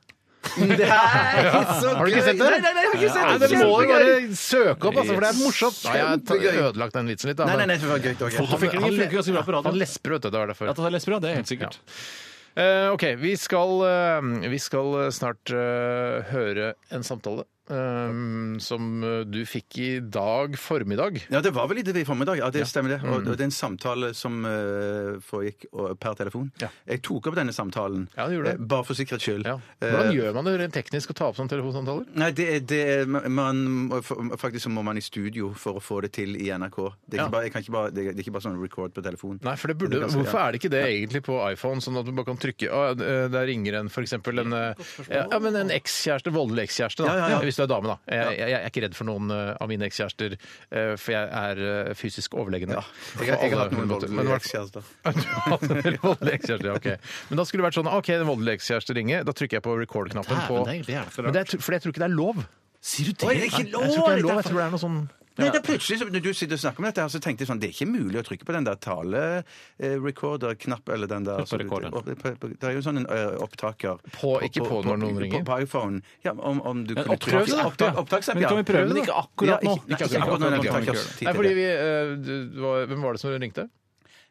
Har du ikke sett det? Nei, nei, nei, jeg har ikke sett Nei, det. det må du Kjempegøy. bare søke opp, altså, for det er morsomt. Nei, jeg har Kjempegøy. ødelagt den vitsen litt. Da, Nei, nei, men- nei, det var gøy. det var gøy. Han- Fotofiklingen han- funker ganske bra på radio. Han lesper, vet du. Det var derfor. At det er lesbra, det er helt sikkert. Eh, OK, vi skal, eh, vi skal eh, snart eh, høre en samtale eh, som eh, du fikk i dag formiddag. Ja, det var vel litt i formiddag. Ja, det stemmer det. Mm. Og og det er en samtale som eh, foregikk og- per telefon. Ja. Jeg tok opp denne samtalen. Ja, du gjorde det. eh, Bare for sikkerhets skyld. Ja. Hvordan Eh, gjør man det rent teknisk å ta opp sånne telefonsamtaler? Nei, det, er- det er- man, må- faktisk så må man i studio for å få det til i NRK. Det er Ja. ikke, bare, jeg kan ikke bare, det er det er ikke bare sånn record på telefon. Nei, for det burde, Det kan- Hvorfor er det ikke det egentlig på iPhone, sånn at du bare kan eh, trykke «Å, Der ringer en f.eks. en, eh, ja, men en ekskjæreste, voldelig ekskjæreste. da. Ja, ja, ja. Hvis hvis du er dame, da. Jeg, jeg, jeg er ikke redd for noen eh, av mine ekskjærester, eh, for jeg er eh, fysisk overlegen. Jeg, har- jeg har hatt noen Men i voldelige hvert [LAUGHS] fall- ekskjærester. Du har hatt en del voldelige ekskjærester, ja, ok. Men da skulle det vært sånn OK, den voldelige ekskjæreste ringer. Da trykker jeg på record-knappen. på... Dæven, det er egentlig jævlig Men det er, for jeg tror ikke det er lov. Sier du Oi, det er ikke Jeg lov! tror ikke det er lov, jeg tror det er noe sånn Nei, det er plutselig, så- Når du sitter og snakker om dette, her, så tenkte jeg sånn Det er ikke mulig å trykke på den der talerecorder-knapp eller den der som du- rekorden. opp- på- på- Det er jo sånn en ø, opptaker På- ikke på når noen ringer. På, på iPhone. Ja, om, om du Men kunne oppprøv trykke- det, da. Opptak, opptaksapp, Men ja. kan vi prøve, men ikke akkurat nå? Ja, ikke, nei, Ikke ikke akkurat akkurat nå, nå. nå nei, kan vi takk, ikke ass. sånn- Tid Nei, til fordi det. vi, eh, du- det var, Hvem var det som ringte?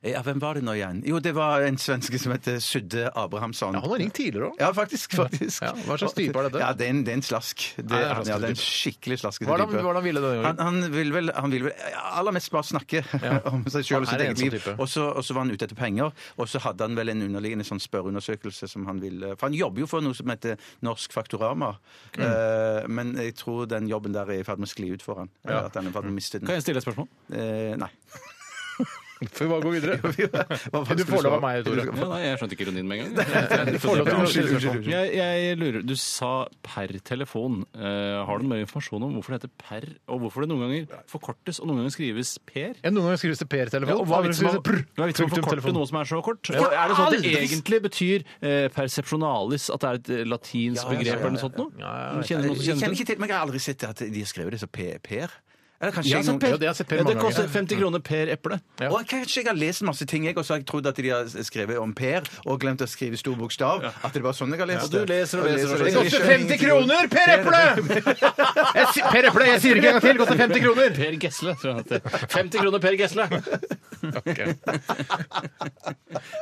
Ja, hvem var det nå igjen? Jo, det var en svenske som heter Sudde Abrahamsson. Ja, han har ringt tidligere òg. Ja, faktisk. faktisk. Ja, hva slags type er dette? Ja, Det er en, det er en slask. Det, det er ja, en slaskete det er en type. skikkelig slaskete Hva er det han- type. hva er det han ville denne gangen? Han, han vil vel, han vil vel aller mest bare snakke [LAUGHS] om seg sjøl og Han er en sitt eget sånn liv. type. Og så og så var han ute etter penger, og så hadde han vel en underliggende sånn spørreundersøkelse som han ville For han jobber jo for noe som heter Norsk Faktorama, Mm. Eh, men jeg tror den jobben der er i ferd med å skli ut for han. Eller At han er i ferd med å miste den. Kan jeg stille et spørsmål? Eh, nei. Får vi bare gå [LAUGHS] videre? Hva- hva Du skulle får lov av meg, svare? Tore. Ja, nei, jeg skjønte ikke ironien med [LAUGHS] en gang. Du får lov til å Unnskyld, stille unnskyld, spørsmål. unnskyld. Jeg, jeg lurer, Du sa per telefon. Eh, har du mer informasjon om hvorfor det heter per, og hvorfor det noen ganger forkortes og noen ganger skrives per? Ja, noen ganger skrives det Ja, Per-telefon. og hva er andre vitsen med å skrives det prr. hva er vitsen med å Punktum forkorte telefon. noe som er så kort? Er det sånn at det aldri. egentlig betyr eh, persepsjonalis, at det er et eh, latinsk begrep eller noe sånt noe? Kjenner du noen som Eh, Jeg kjenner kjenner til det? ikke til, men jeg har aldri sett at de har skrevet det som P- Per. Eller kanskje Jeg har jeg sett noen- Per. Ja, det har jeg sett Per Ja, det mange koster ganger. 50 kroner per eple. Ja. Og kanskje jeg har lest masse ting, jeg, og så har jeg trodd at de har skrevet om Per, og glemt å skrive stor bokstav. At det var sånn jeg har lest Ja, du leser og leser og Det leser. Jeg koster skjønner 50 ingenting. kroner, Per Eple! Jeg si- Per Eple, jeg sier det ikke en gang til. Det koster 50 kroner. Per Gessle, tror jeg det [LAUGHS] heter. 50 kroner Per Gessle!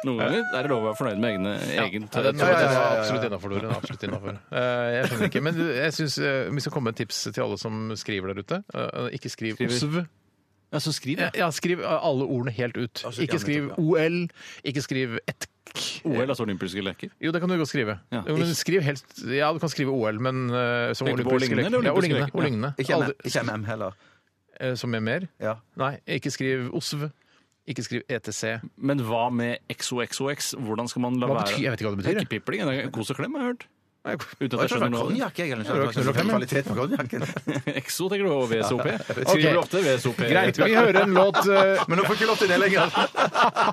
Noen ganger er det lov å være fornøyd med egne, egen Ja, den, ja, ja, ja. er absolutt innafor, Tore. Den er Absolutt innafor. Eh, jeg skjønner ikke. Men du, jeg synes, eh, vi skal komme med et tips til alle som skriver der ute. Eh, ikke skriv osv. ja, så skriv, Ja, ja. ja, skriv eh, alle ordene helt ut. Ikke skriv OL, ikke skriv etk. OL, altså olympiske leker. Jo, det kan du godt skrive. Ja. Jo, men skriv helst, ja, du kan skrive OL, men uh, som Tenker du på olympiske lignende, leker. eller Ja, og olympiske lignende. leker? Og lignende. Ikke MM, Aldri- ikke MM heller. eh, som er mer? Ja. Nei, ikke skriv OSV. Ikke skriv E ETC. Men hva med XOXOX? Hvordan skal man la Hva være betyr, jeg vet ikke hva det betyr. jeg. Pepperpling? Det er Kos og klem, har jeg hørt. Uten at jeg Jeg tror det skjønner var noe av det. konjakk, jeg. Eller Ja, det var noe sånt. 105, ja. Kvalitet på konjakken. [LAUGHS] XO, tenker du, og VSOP? Ok. Skriver du ofte VSOP? Greit, vi hører en låt eh, Men nå får jeg ikke lov til det lenger.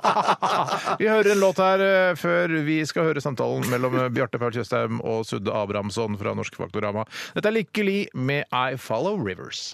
[LAUGHS] Vi hører en låt her eh, før vi skal høre samtalen mellom eh, Bjarte Paul Tjøstheim og Sudde Abrahamsson fra Norsk Faktorama. Dette er Lykkelig med I Follow Rivers.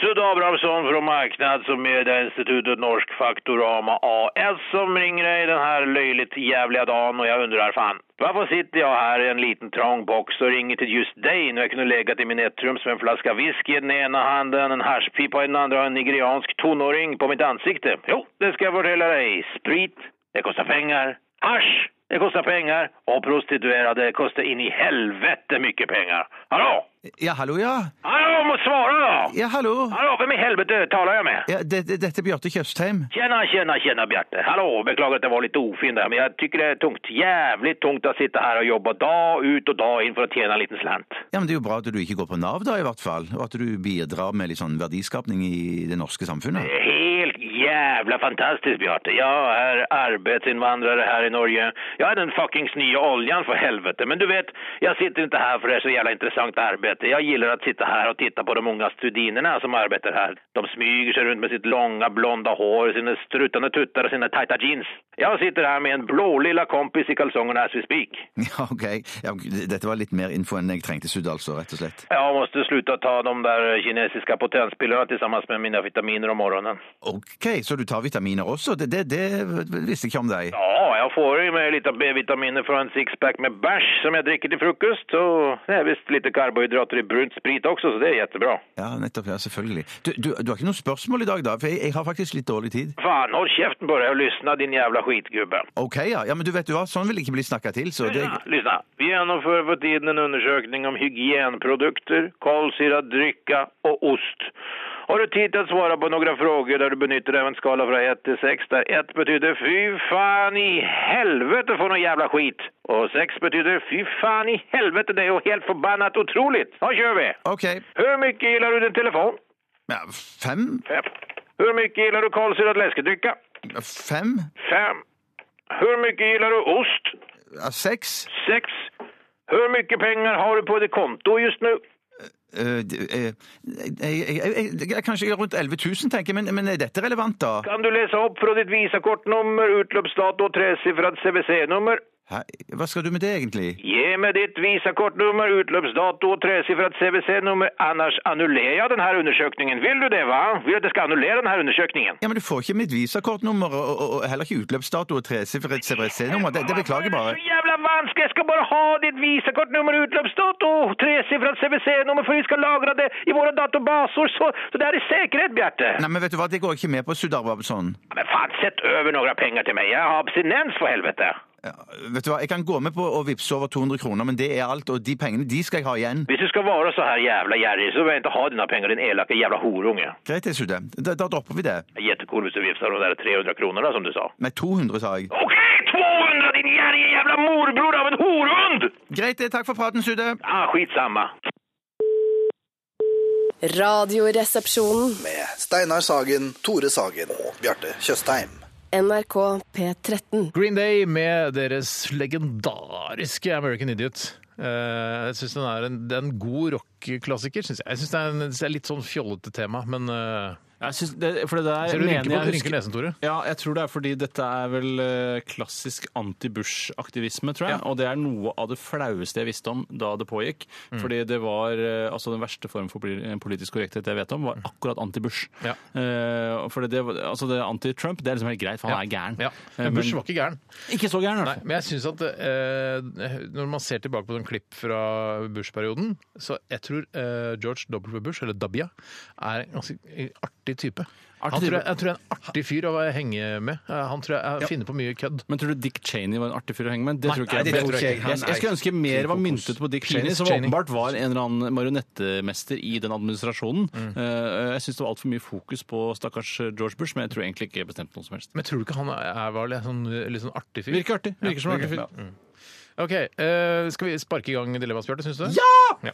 Sudde Abrahamsson fra Marknads- og medieinstituttet Norsk Faktorama AS som ringer deg den her løyligt jævliga dagen, og jeg undrer fan. Hvorfor sitter jeg her i en liten trang boks og ringer til just deg når jeg kunne legget i min ettrums med en flaske whisky i den ene handen, en hasjpipa i den andre og en nigeriansk tonåring på mitt ansikte? Jo, det skal jeg fortelle deg. Sprit, det koster penger. Hasj, det koster penger. Og prostituerade koster inn i helvete mye penger. Hallo? Ja, hallo, ja. Hallo, må svare da! Ja, hallo. Hallo, hvem i helvete taler jeg med? Ja, det, det, dette er Bjarte Tjøstheim. Tjena, tjena, tjena Bjarte. Hallå, beklagar att jag var lite ofin där, men jag tycker det är tungt, jävligt tungt att sitta här och jobba dag ut och dag in för att tjäna en liten slant. Ja, men Det er jo bra at du ikke går på Nav, da, i hvert fall. Og at du bidrar med litt sånn verdiskapning i det norske samfunnet. Helt jävla fantastiskt Bjarte. Jag är arbetsinvandrare här i Norge. Jag är den fuckings nya oljan för helvete. Men du vet, jag sitter inte här för det är så jävla intressant arbete. Jag gillar att sitta här och titta på de unga studinerna som arbetar här. De smyger sig runt med sitt långa blonda hår, sina strutande tuttar och sina tajta jeans. Jag sitter här med en blå lilla kompis i kalsongerna as we speak. [LAUGHS] Ja, OK. Ja, dette var litt mer info enn jeg trengte, Sudd, altså, rett og slett. Jag måste sluta ta de där kinesiska potenspillerna tillsammans med mina vitaminer om morgonen. OK, så du tar vitaminer også? Det, det, det visste jeg ikke om deg. Ja, jag jeg får i meg litt av B-vitaminer fra en sixpack med bæsj som jeg drikker til frokost. Og det er visst litt karbohydrater i brunt sprit også, så det er jettebra. Ja, nettopp. Ja, selvfølgelig. Du, du, du har ikke noe spørsmål i dag, da? For jeg, jeg har faktisk litt dårlig tid. Faen, hold kjeften på deg og lysna, din jævla skitgubbe. OK, ja. ja men du vet du hva, sånn vil jeg ikke bli snakka til, så det Lyssna, lyssna. Vi gjennomfører for tiden en undersøkning om hygienprodukter, kolsyra, dricka och ost. Har du tid til å svare på noen frågor der du benytter deg av en skala fra 1 til 6, der 1 betyder fy fan i helvete for noe jævla skit, og 6 betyder fy fan i helvete det er jo helt förbannat otroligt. Nå kjører vi! OK. Hur mycket gillar du din telefon? Ja, fem? 5. Hur mycket gillar du kolsyrad läskedrycka? Fem? 5. Hur mycket gillar du ost? Ja, Seks? 6. Hur mycket pengar har du på ditt konto just nu? Eh, d- eh, jeg, jeg, jeg, jeg, kanskje rundt 11 000, tenker jeg. Men, men er dette relevant, da? Kan du lese opp fra ditt visakortnummer, utløpsdato og tresifret CVC-nummer? Hæ? Hva skal du med det, egentlig? Gi meg ditt visakortnummer, utløpsdato og tresifret CVC-nummer, annars annullerer jeg denne undersøkningen. Vil du det, hva? Vil du at jeg skal annullere denne undersøkningen? Ja, men Du får ikke mitt visakortnummer og, og, og heller ikke utløpsdato og tresifret CVC-nummer. Det, det beklager jeg Det bare. er så jævla vanskelig! Jeg skal bare ha ditt visakortnummer, utløpsdato og tresifret CVC-nummer, for vi skal lagre det i våre databaser, så, så det er i sikkerhet, Bjarte. Nei, men vet du hva, Det går jeg ikke med på, Sudarvabson. Men faen, sett over noen penger til meg. Jeg har abstinens, for helvete. Ja, vet du hva, Jeg kan gå med på å vippse over 200 kroner, men det er alt, og de pengene de skal jeg ha igjen. Hvis du skal være så her jævla gjerrig, så vil jeg ikke ha dine penger, din elake jævla horunge. Greit, det, Sudde. Da, da dropper vi det. Jättekul hvis du vifter de der 300 kronorna som du sa. Nei, 200, sa jeg. Ok, 200 din gjerrige jævla morbror av en horhund! Greit, det. Takk for praten, Sudde. Ah, skitsamma. Radioresepsjonen. Med Steinar Sagen, Tore Sagen og Bjarte Tjøstheim. NRK P13. Green Day med deres legendariske American Idiot. Eh, jeg syns den er en, det er en god rockeklassiker. synes Jeg Jeg synes det, er en- det er litt sånn fjollete tema, men eh, Jeg synes det, for det der Ser du mener rynker på- jeg rynker husker- nesen, Tore? Ja, jeg tror det er fordi dette er vel eh, klassisk anti-Bush-aktivisme, tror jeg. Og det er noe av det flaueste jeg visste om da det pågikk. Mm. Fordi det var eh, altså den verste form for poli- politisk korrekthet jeg vet om, var akkurat anti-Bush. Mm. Ja. Eh, for det, var- altså det anti-Trump, det er liksom helt greit, for han er gæren. ja. Eh, Men Bush var ikke gæren. ikke så gæren, i hvert Nei, fall. men jeg synes at eh, når man ser tilbake på noen klipp fra Bush-perioden, så jeg tror eh, George W. Bush, eller Dabia, er en ganske eh, artig type. han type. Tror jeg, jeg tror jeg er en artig fyr å henge med. Eh, han tror jeg eh, finner på mye kødd. Men tror du Dick Cheney var en artig fyr å henge med? Det tror ikke nei, jeg. det tror jeg ikke. jeg, jeg skulle ønske mer var myntet på Dick Cheney, Cheney, som Cheney. åpenbart var en eller annen marionettemester i den administrasjonen. Mm. Eh, Jeg syns det var altfor mye fokus på stakkars eh, George Bush, men jeg tror egentlig ikke bestemte noe som helst. Men tror du ikke han er, er var litt sånn, litt sånn artig fyr? Virker artig. Virker som en artig fyr. Ok, eh, Skal vi sparke i gang dilemmaet, Bjarte? Syns du? Ja!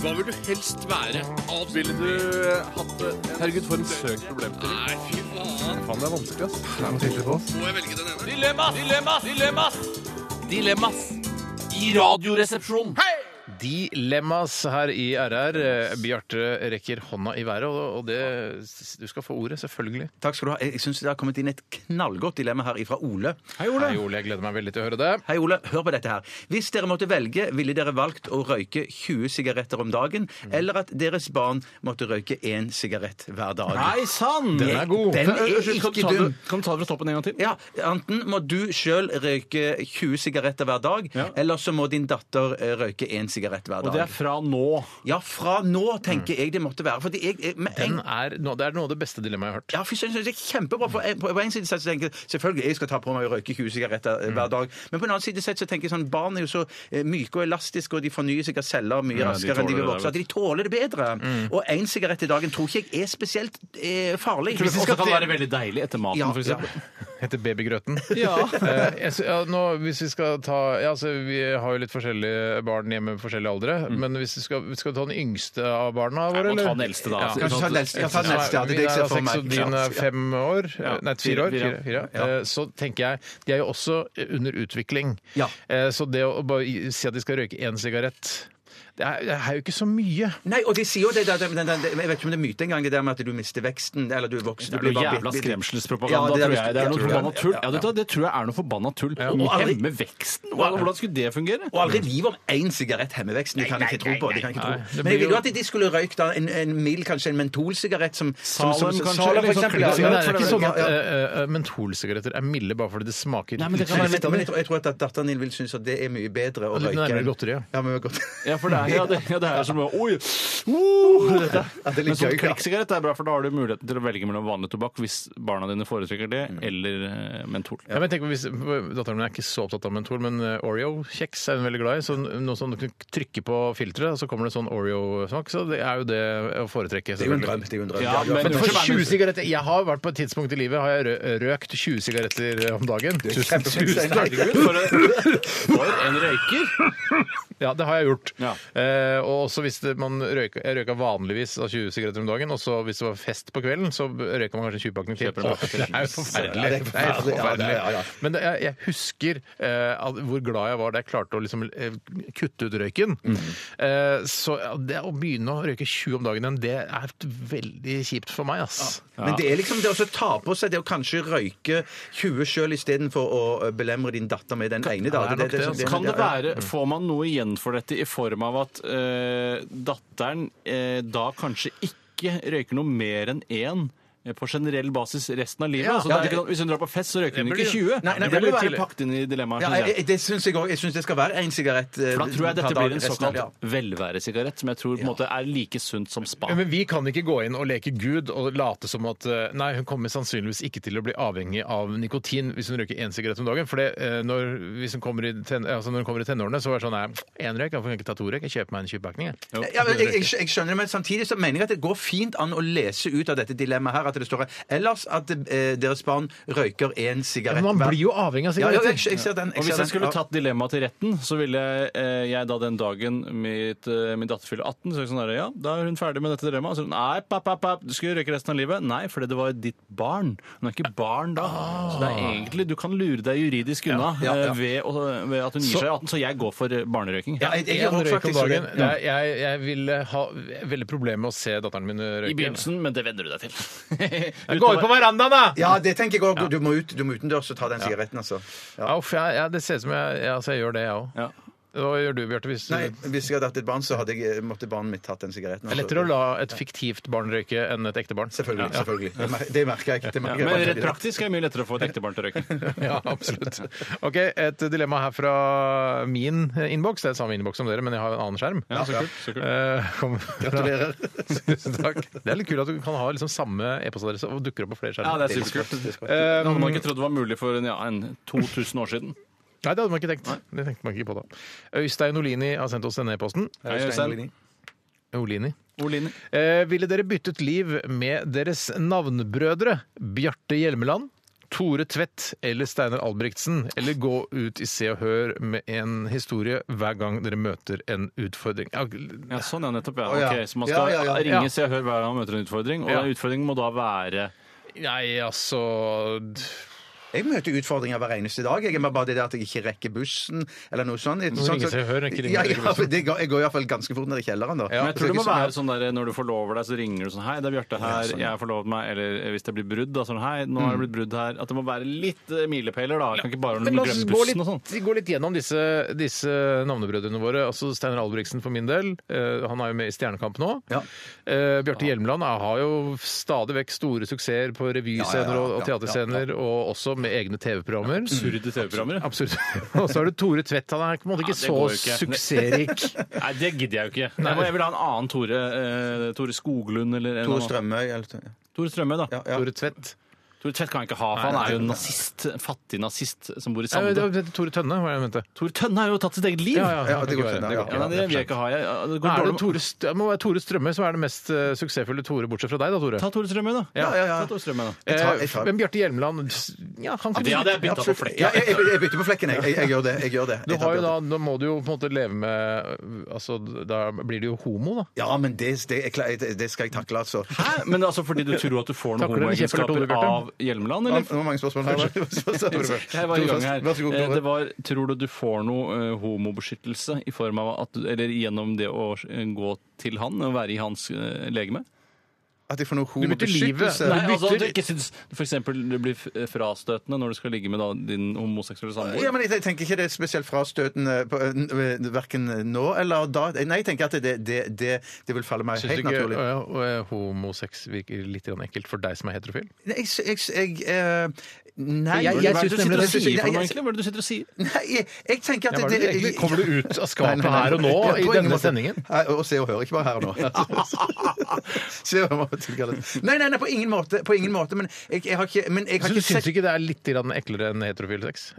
Hva vil du helst være? Ville du eh, hatt det? Herregud, for en søk problemstilling. Nei, fy faen. Faen, det er vanskelig, ass. Må jeg velge den ene? Dilemmas! Dilemmas! Dilemmas! Dilemmas! I radioresepsjonen. Dilemmas her i RR. Eh, Bjarte rekker hånda i været, og, og det, du skal få ordet, selvfølgelig. Takk skal du ha. Jeg, jeg syns det har kommet inn et knallgodt dilemma her ifra Ole. Hei, Hei, Ole, jeg gleder meg veldig til å høre det. Hei, Ole. Hør på dette her. Hvis dere måtte velge, ville dere valgt å røyke 20 sigaretter om dagen, Mm. eller at deres barn måtte røyke én sigarett hver dag? Nei sann! Den er god. Den er Unnskyld, kan du ikke ta det- dum. Kan du ta det fra toppen en gang til? Ja, Enten må du sjøl røyke 20 sigaretter hver dag, eller så må din datter eh, røyke én sigarett hver Og det dag. er fra nå. Ja, fra nå tenker jeg det måtte være. Fordi jeg, jeg, men jeg Den er, no- det er noe av det beste dilemmaet jeg har hørt. ja, for jeg synes det er kjempebra. For jeg- på på en side så tenker jeg selvfølgelig jeg skal ta på meg å røyke 20 sigaretter eh, Mm. hver dag. Men på en annen side sett så tenker jeg sånn, barn er jo så eh, myke og elastiske, og de fornyer seg av celler Ja, mye de raskere enn tåler de vil det vokse. At de tåler det bedre. Mm. Og én sigarett i dagen tror ikke jeg er spesielt eh, farlig. Tror du Og også kan det være veldig deilig etter maten, Ja, for eksempel? Heter Babygrøten. [LAUGHS] Ja. Eh, jeg sy- ja, nå, hvis vi skal ta ja, altså, Vi har jo litt forskjellige barn hjemme med forskjellige aldre. Men hvis vi skal, skal vi ta den yngste av barna våre, Mm. Må ta den eldste, da. Kanskje ta den eldste. Ja, ta den eldste, ja. Det er det Min jeg er ser for seks, meg. og din Ja. er fem år. Ja. Nei, fire år. Fire, Fire, fire. fire. Eh, Så tenker jeg De er jo også under utvikling. Ja. Eh, Så det å bare si at de skal røyke én sigarett Det er, det er jo ikke så mye. Nei, og de sier jo det der, den, den, den, Jeg vet ikke om det er myte engang, det der med at du mister veksten. Eller du vokser, Det er du noe bare jævla bitt- bitt- skremselspropaganda, Ja, tror jeg. Det er noe tror forbanna tull. Ja, Ja, det, det tror jeg er noe forbanna tull. Ja, og aldri- Hemme veksten? Hva- Hvordan skulle det fungere? Og aldri livet om én sigarett hemmer veksten. Det kan jeg ikke tro på. Det kan jeg ikke Nei, det tro. Men jeg blir ville jo jo- at de skulle røykt da en, en mild, kanskje en mentolsigarett som som- som- Salem, som- kanskje, Salem, for eller sånn eksempel. klippesigarett, Men det er ja, ikke sånn at ja, ja. eh, eh, mentolsigaretter er milde bare fordi det smaker Men, litt litt av men det. jeg, tror, jeg tror at datteren din vil synes at det er mye bedre å Litt røyke. nærmere enn- godteri, ja. Ja, men godt. Ja, for det er, ja, det, ja, det er som å- [LAUGHS] Oi! Uh, dette. Ja, det er litt Men som gøy, ja. klikksigarett er bra, for da har du muligheten til å velge mellom vanlig tobakk hvis barna dine foretrekker Mm. det, eller eh, mentol. Ja, men jeg tenker, hvis, datteren min er ikke så opptatt av mentol, men eh, Oreo-kjeks er hun veldig glad i. Så noe som du kan trykke på filteret, så kommer det sånn Oreo-smak. Så det er jo det å foretrekke. [LAUGHS] Det er jo en selvfølgelig. drøm. Det er jo en drøm. Ja, Ja, ja, men- Men for- for Unnskyld meg, 20 men- sigaretter Jeg har vært på et tidspunkt i livet Har jeg rø- røkt 20 sigaretter eh, om dagen Tusen, kjempefint, tusen Stein. takk For, for en røyker! Ja, det har jeg gjort Ja. eh, Og også hvis det, man røyka, Jeg røyka vanligvis av 20 sigaretter om dagen Og så hvis det var fest på kvelden Så røyka man kanskje en 20-pakning til Kjøper en Åh, pakke til. Det er jo forferdelig Ja, det Det er er helt forferdelig. forferdelig Ja, ja, ja. Men det, jeg, jeg husker eh, at, hvor glad jeg var Da jeg klarte å liksom, eh, kutte ut røyken eh, Så ja, det å begynne å røyke 20 om dagen igjen, Det er veldig kjipt for meg ass. [LAUGHS] Men det er liksom det å så ta på seg det å kanskje røyke 20 sjøl istedenfor å eh, belemre din datter med den det ene er dagen. nok det, altså. Kan det ja, ja. være, Får man noe igjen for dette i form av at eh, datteren eh, da kanskje ikke røyker noe mer enn én? eh, På generell basis resten av livet. Ja, altså, det ja, er det- ikke, noe- hvis hun drar på fest, så røyker hun Det ikke blir jo- 20. Nei, nei, det det blir blir tidlig. være pakket inn i dilemmaet. Ja, synes jeg. jeg, jeg- det syns jeg òg. Jeg syns det skal være én sigarett. eh, For da tror jeg per dette dag blir en resten av- såkalt ja. velværesigarett, som jeg tror på en måte er like sunt som spa. Ja, Men vi kan ikke gå inn og leke Gud og late som at eh, nei, hun kommer sannsynligvis ikke til å bli avhengig av nikotin hvis hun røyker én sigarett om dagen. For det, eh, når, hvis hun kommer i ten, altså når hun kommer i tenårene, så er det sånn nei, én røyk, jeg får ikke ta to røyk, jeg kjøper meg en 20-pakning. jeg. Ja, men jeg, jeg, jeg skjønner det, men samtidig så mener jeg at det går fint an å lese ut av dette dilemmaet her at det står ellers at eh, deres barn røyker én sigarett Men man blir jo avhengig av ja, ja, jeg, sigaretter. jeg ser den. Og Jeg hvis ser jeg skulle den. tatt dilemmaet til retten, så ville eh, jeg da den dagen mitt, eh, min datter fyller 18, så er det sånn der, ja, da er hun ferdig med dette dilemmaet. Så er hun, nei, papp, papp, papp, du skulle røyke resten av livet. Nei, fordi det var ditt barn. Hun er ikke barn da. Så det er egentlig, du kan lure deg juridisk unna Ja, ja, ja. eh, Ved, å- ved at hun gir Så- seg i 18, så jeg går for eh, barnerøyking. Ja, jeg, jeg, Én gjør røyk om faktisk dagen. det. Det er, jeg, jeg vil ha veldig problemer med å se datteren min røyke. I begynnelsen, men det venner du [LAUGHS] deg til. Jeg går ut på verandaen, da! Ja, det tenker jeg òg. Du, må ut- du må utendørs og ta den sigaretten, altså. Ja. Ja, uff, jeg, jeg, det ser ut som jeg, jeg, altså, jeg gjør det, jeg òg. Ja. Hva gjør du, Bjarte? Hvis du... Nei, hvis jeg hadde hatt et barn, så hadde jeg, eh, måtte barnet mitt tatt den sigaretten. altså. Det er lettere å la et fiktivt barn røyke enn et ekte barn. Selvfølgelig. selvfølgelig. Det mer- Det merker jeg ikke. Det Ja, merker jeg men faktisk rett ikke. praktisk er det mye lettere å få et ekte barn til å røyke. [LAUGHS] Ja, absolutt. Ok, Et dilemma her fra min innboks. Det er samme innboks som dere, men jeg har en annen skjerm. [LAUGHS] Ja, så kult, så kult. Eh, kom- Gratulerer. [LAUGHS] Tusen takk. Det er litt kult at du kan ha liksom samme e-postadresse og dukker opp på flere Ja, skjermer. det er superkult. Det hadde man ikke trodd det var mulig for en, ja, en 2000 år siden. Nei, det hadde man ikke tenkt. Det tenkte man ikke på da. Øystein Olini har sendt oss denne e-posten. Hei, Øystein. Olini. Olini. Eh, ville dere byttet liv med deres navnbrødre Bjarte Hjelmeland, Tore Tvedt eller Steinar Albrigtsen? Eller gå ut i Se og Hør med en historie hver gang dere møter en utfordring? Ja, Ja, sånn ja, nettopp. Ja. Å, ja. Ok, så man skal Ja, ja, ja. ringe Ja. Se og Hør hver gang man møter en utfordring, og Ja. den utfordringen må da være Nei, altså Jeg møter utfordringer hver eneste dag. Jeg er bare det der at jeg ikke rekker bussen, eller noe sånt. Nå ringer jeg til Hør, rekker ingen ja, rekker ja, det går, Jeg går iallfall ganske fort ned i kjelleren, da. Ja, Men jeg Så tror det må ikke så- være sånn der når du forlover deg, så ringer du sånn Hei, det er Bjarte her, sånn, ja. jeg har forlovet meg. Eller hvis det blir brudd, da sånn Hei, nå har det blitt brudd her. At det må være litt eh, milepæler, da. Jeg kan ikke bare Men la oss glemme gå bussen og sånn. litt, gå litt gjennom disse, disse navnebrødrene våre. Altså Steinar Albrigtsen for min del. eh, han er jo med i Stjernekamp nå. Ja. Eh, Bjarte Hjelmeland er- har jo stadig vekk store suksesser på revyscener Ja, ja, ja, og- og ja, ja, teaterscener, og også med egne TV-programmer. Absurde TV-programmer. ja. [LAUGHS] Absolutt. Og så er det Tore Tvedt. Han er på en måte ikke Ja, det går så jo ikke. suksessrik. Nei, det gidder jeg jo ikke. Jeg, må, jeg vil ha en annen Tore. Eh, Tore Skoglund eller en Tore annen. Strømøy eller Tore Strømme, da. ja, ja. Tore Tvedt. Tore Tvedt kan jeg ikke ha, for han er jo en nazist. En fattig nazist som bor i Nei, det Sande. var Tore Tønne, var det jeg mente. Tore Tønne har jo tatt sitt eget liv! Ja, ja, Ja, det kan går ikke ikke, være. nei, Det går ja. ikke. Ja, nei, det vil jeg ikke ha. Jeg, det går Da er dårlig det med- Tore, St- det må være Tore Strømme som er den mest eh, suksessfulle Tore, bortsett fra deg da, Tore. Ta Tore Strømøy, da. Ja, ja, ja. Ta Tore Strømøy, da. Jeg tar- jeg tar- Eh, Men Bjarte Hjelmeland ja, han kan Det hadde jeg bytta på Absolutt. flekken. Ja, jeg, jeg, jeg bytter på flekken, jeg. Jeg, jeg gjør det. Jeg gjør det. Du Jeg tar har jo da, Bjarte. da må du jo på en måte leve med altså, Da blir du jo homo, da. Ja, men det, det, er klart- det skal jeg takle, altså. Hæ? Men altså fordi du tror at du får noen Takler du kjepp eller homoegenskaper tolv, Bjarte? av av Hjelmeland, Det eller? var mange spørsmål her. [LAUGHS] Jeg var i gang her. [LAUGHS] Vær så god. Eh, Tore. Det var, tror du du får noe eh, homobeskyttelse i form av at, du- eller gjennom det å eh, gå til han og være i hans eh, legeme? At jeg får noe Du bytter livet. homobeskyttelse? Nei, altså, at du ikke syns for eksempel det blir f- eh, frastøtende når du skal ligge med da, din homoseksuelle samboer. Ja, men jeg tenker ikke det er spesielt frastøtende på- øh, verken nå eller da. Nei, jeg tenker at det, det, det, det vil falle meg Syns du helt ikke naturlig. ja, ja, homosex virker litt grann ekkelt for deg som er heterofil? Nei, jeg, jeg, jeg eh, Nei Jeg- jeg synes nemlig det. Nei, jeg- Hva er det du sitter og sier? Nei, jeg, jeg tenker Ja, at hva er det du egentlig- kommer du ut av skapet [LAUGHS] Nei, nei, nei. her og nå Ja, på i ingen denne måte. sendingen? Nei, og se og hør, ikke bare her og [LAUGHS] nå. se og hør, må jeg tilkalle det. Nei, nei, nei, på ingen måte. På ingen måte men jeg, jeg har ikke, men jeg har Så du ikke syns sett ikke det er litt grann eklere enn heterofil sex?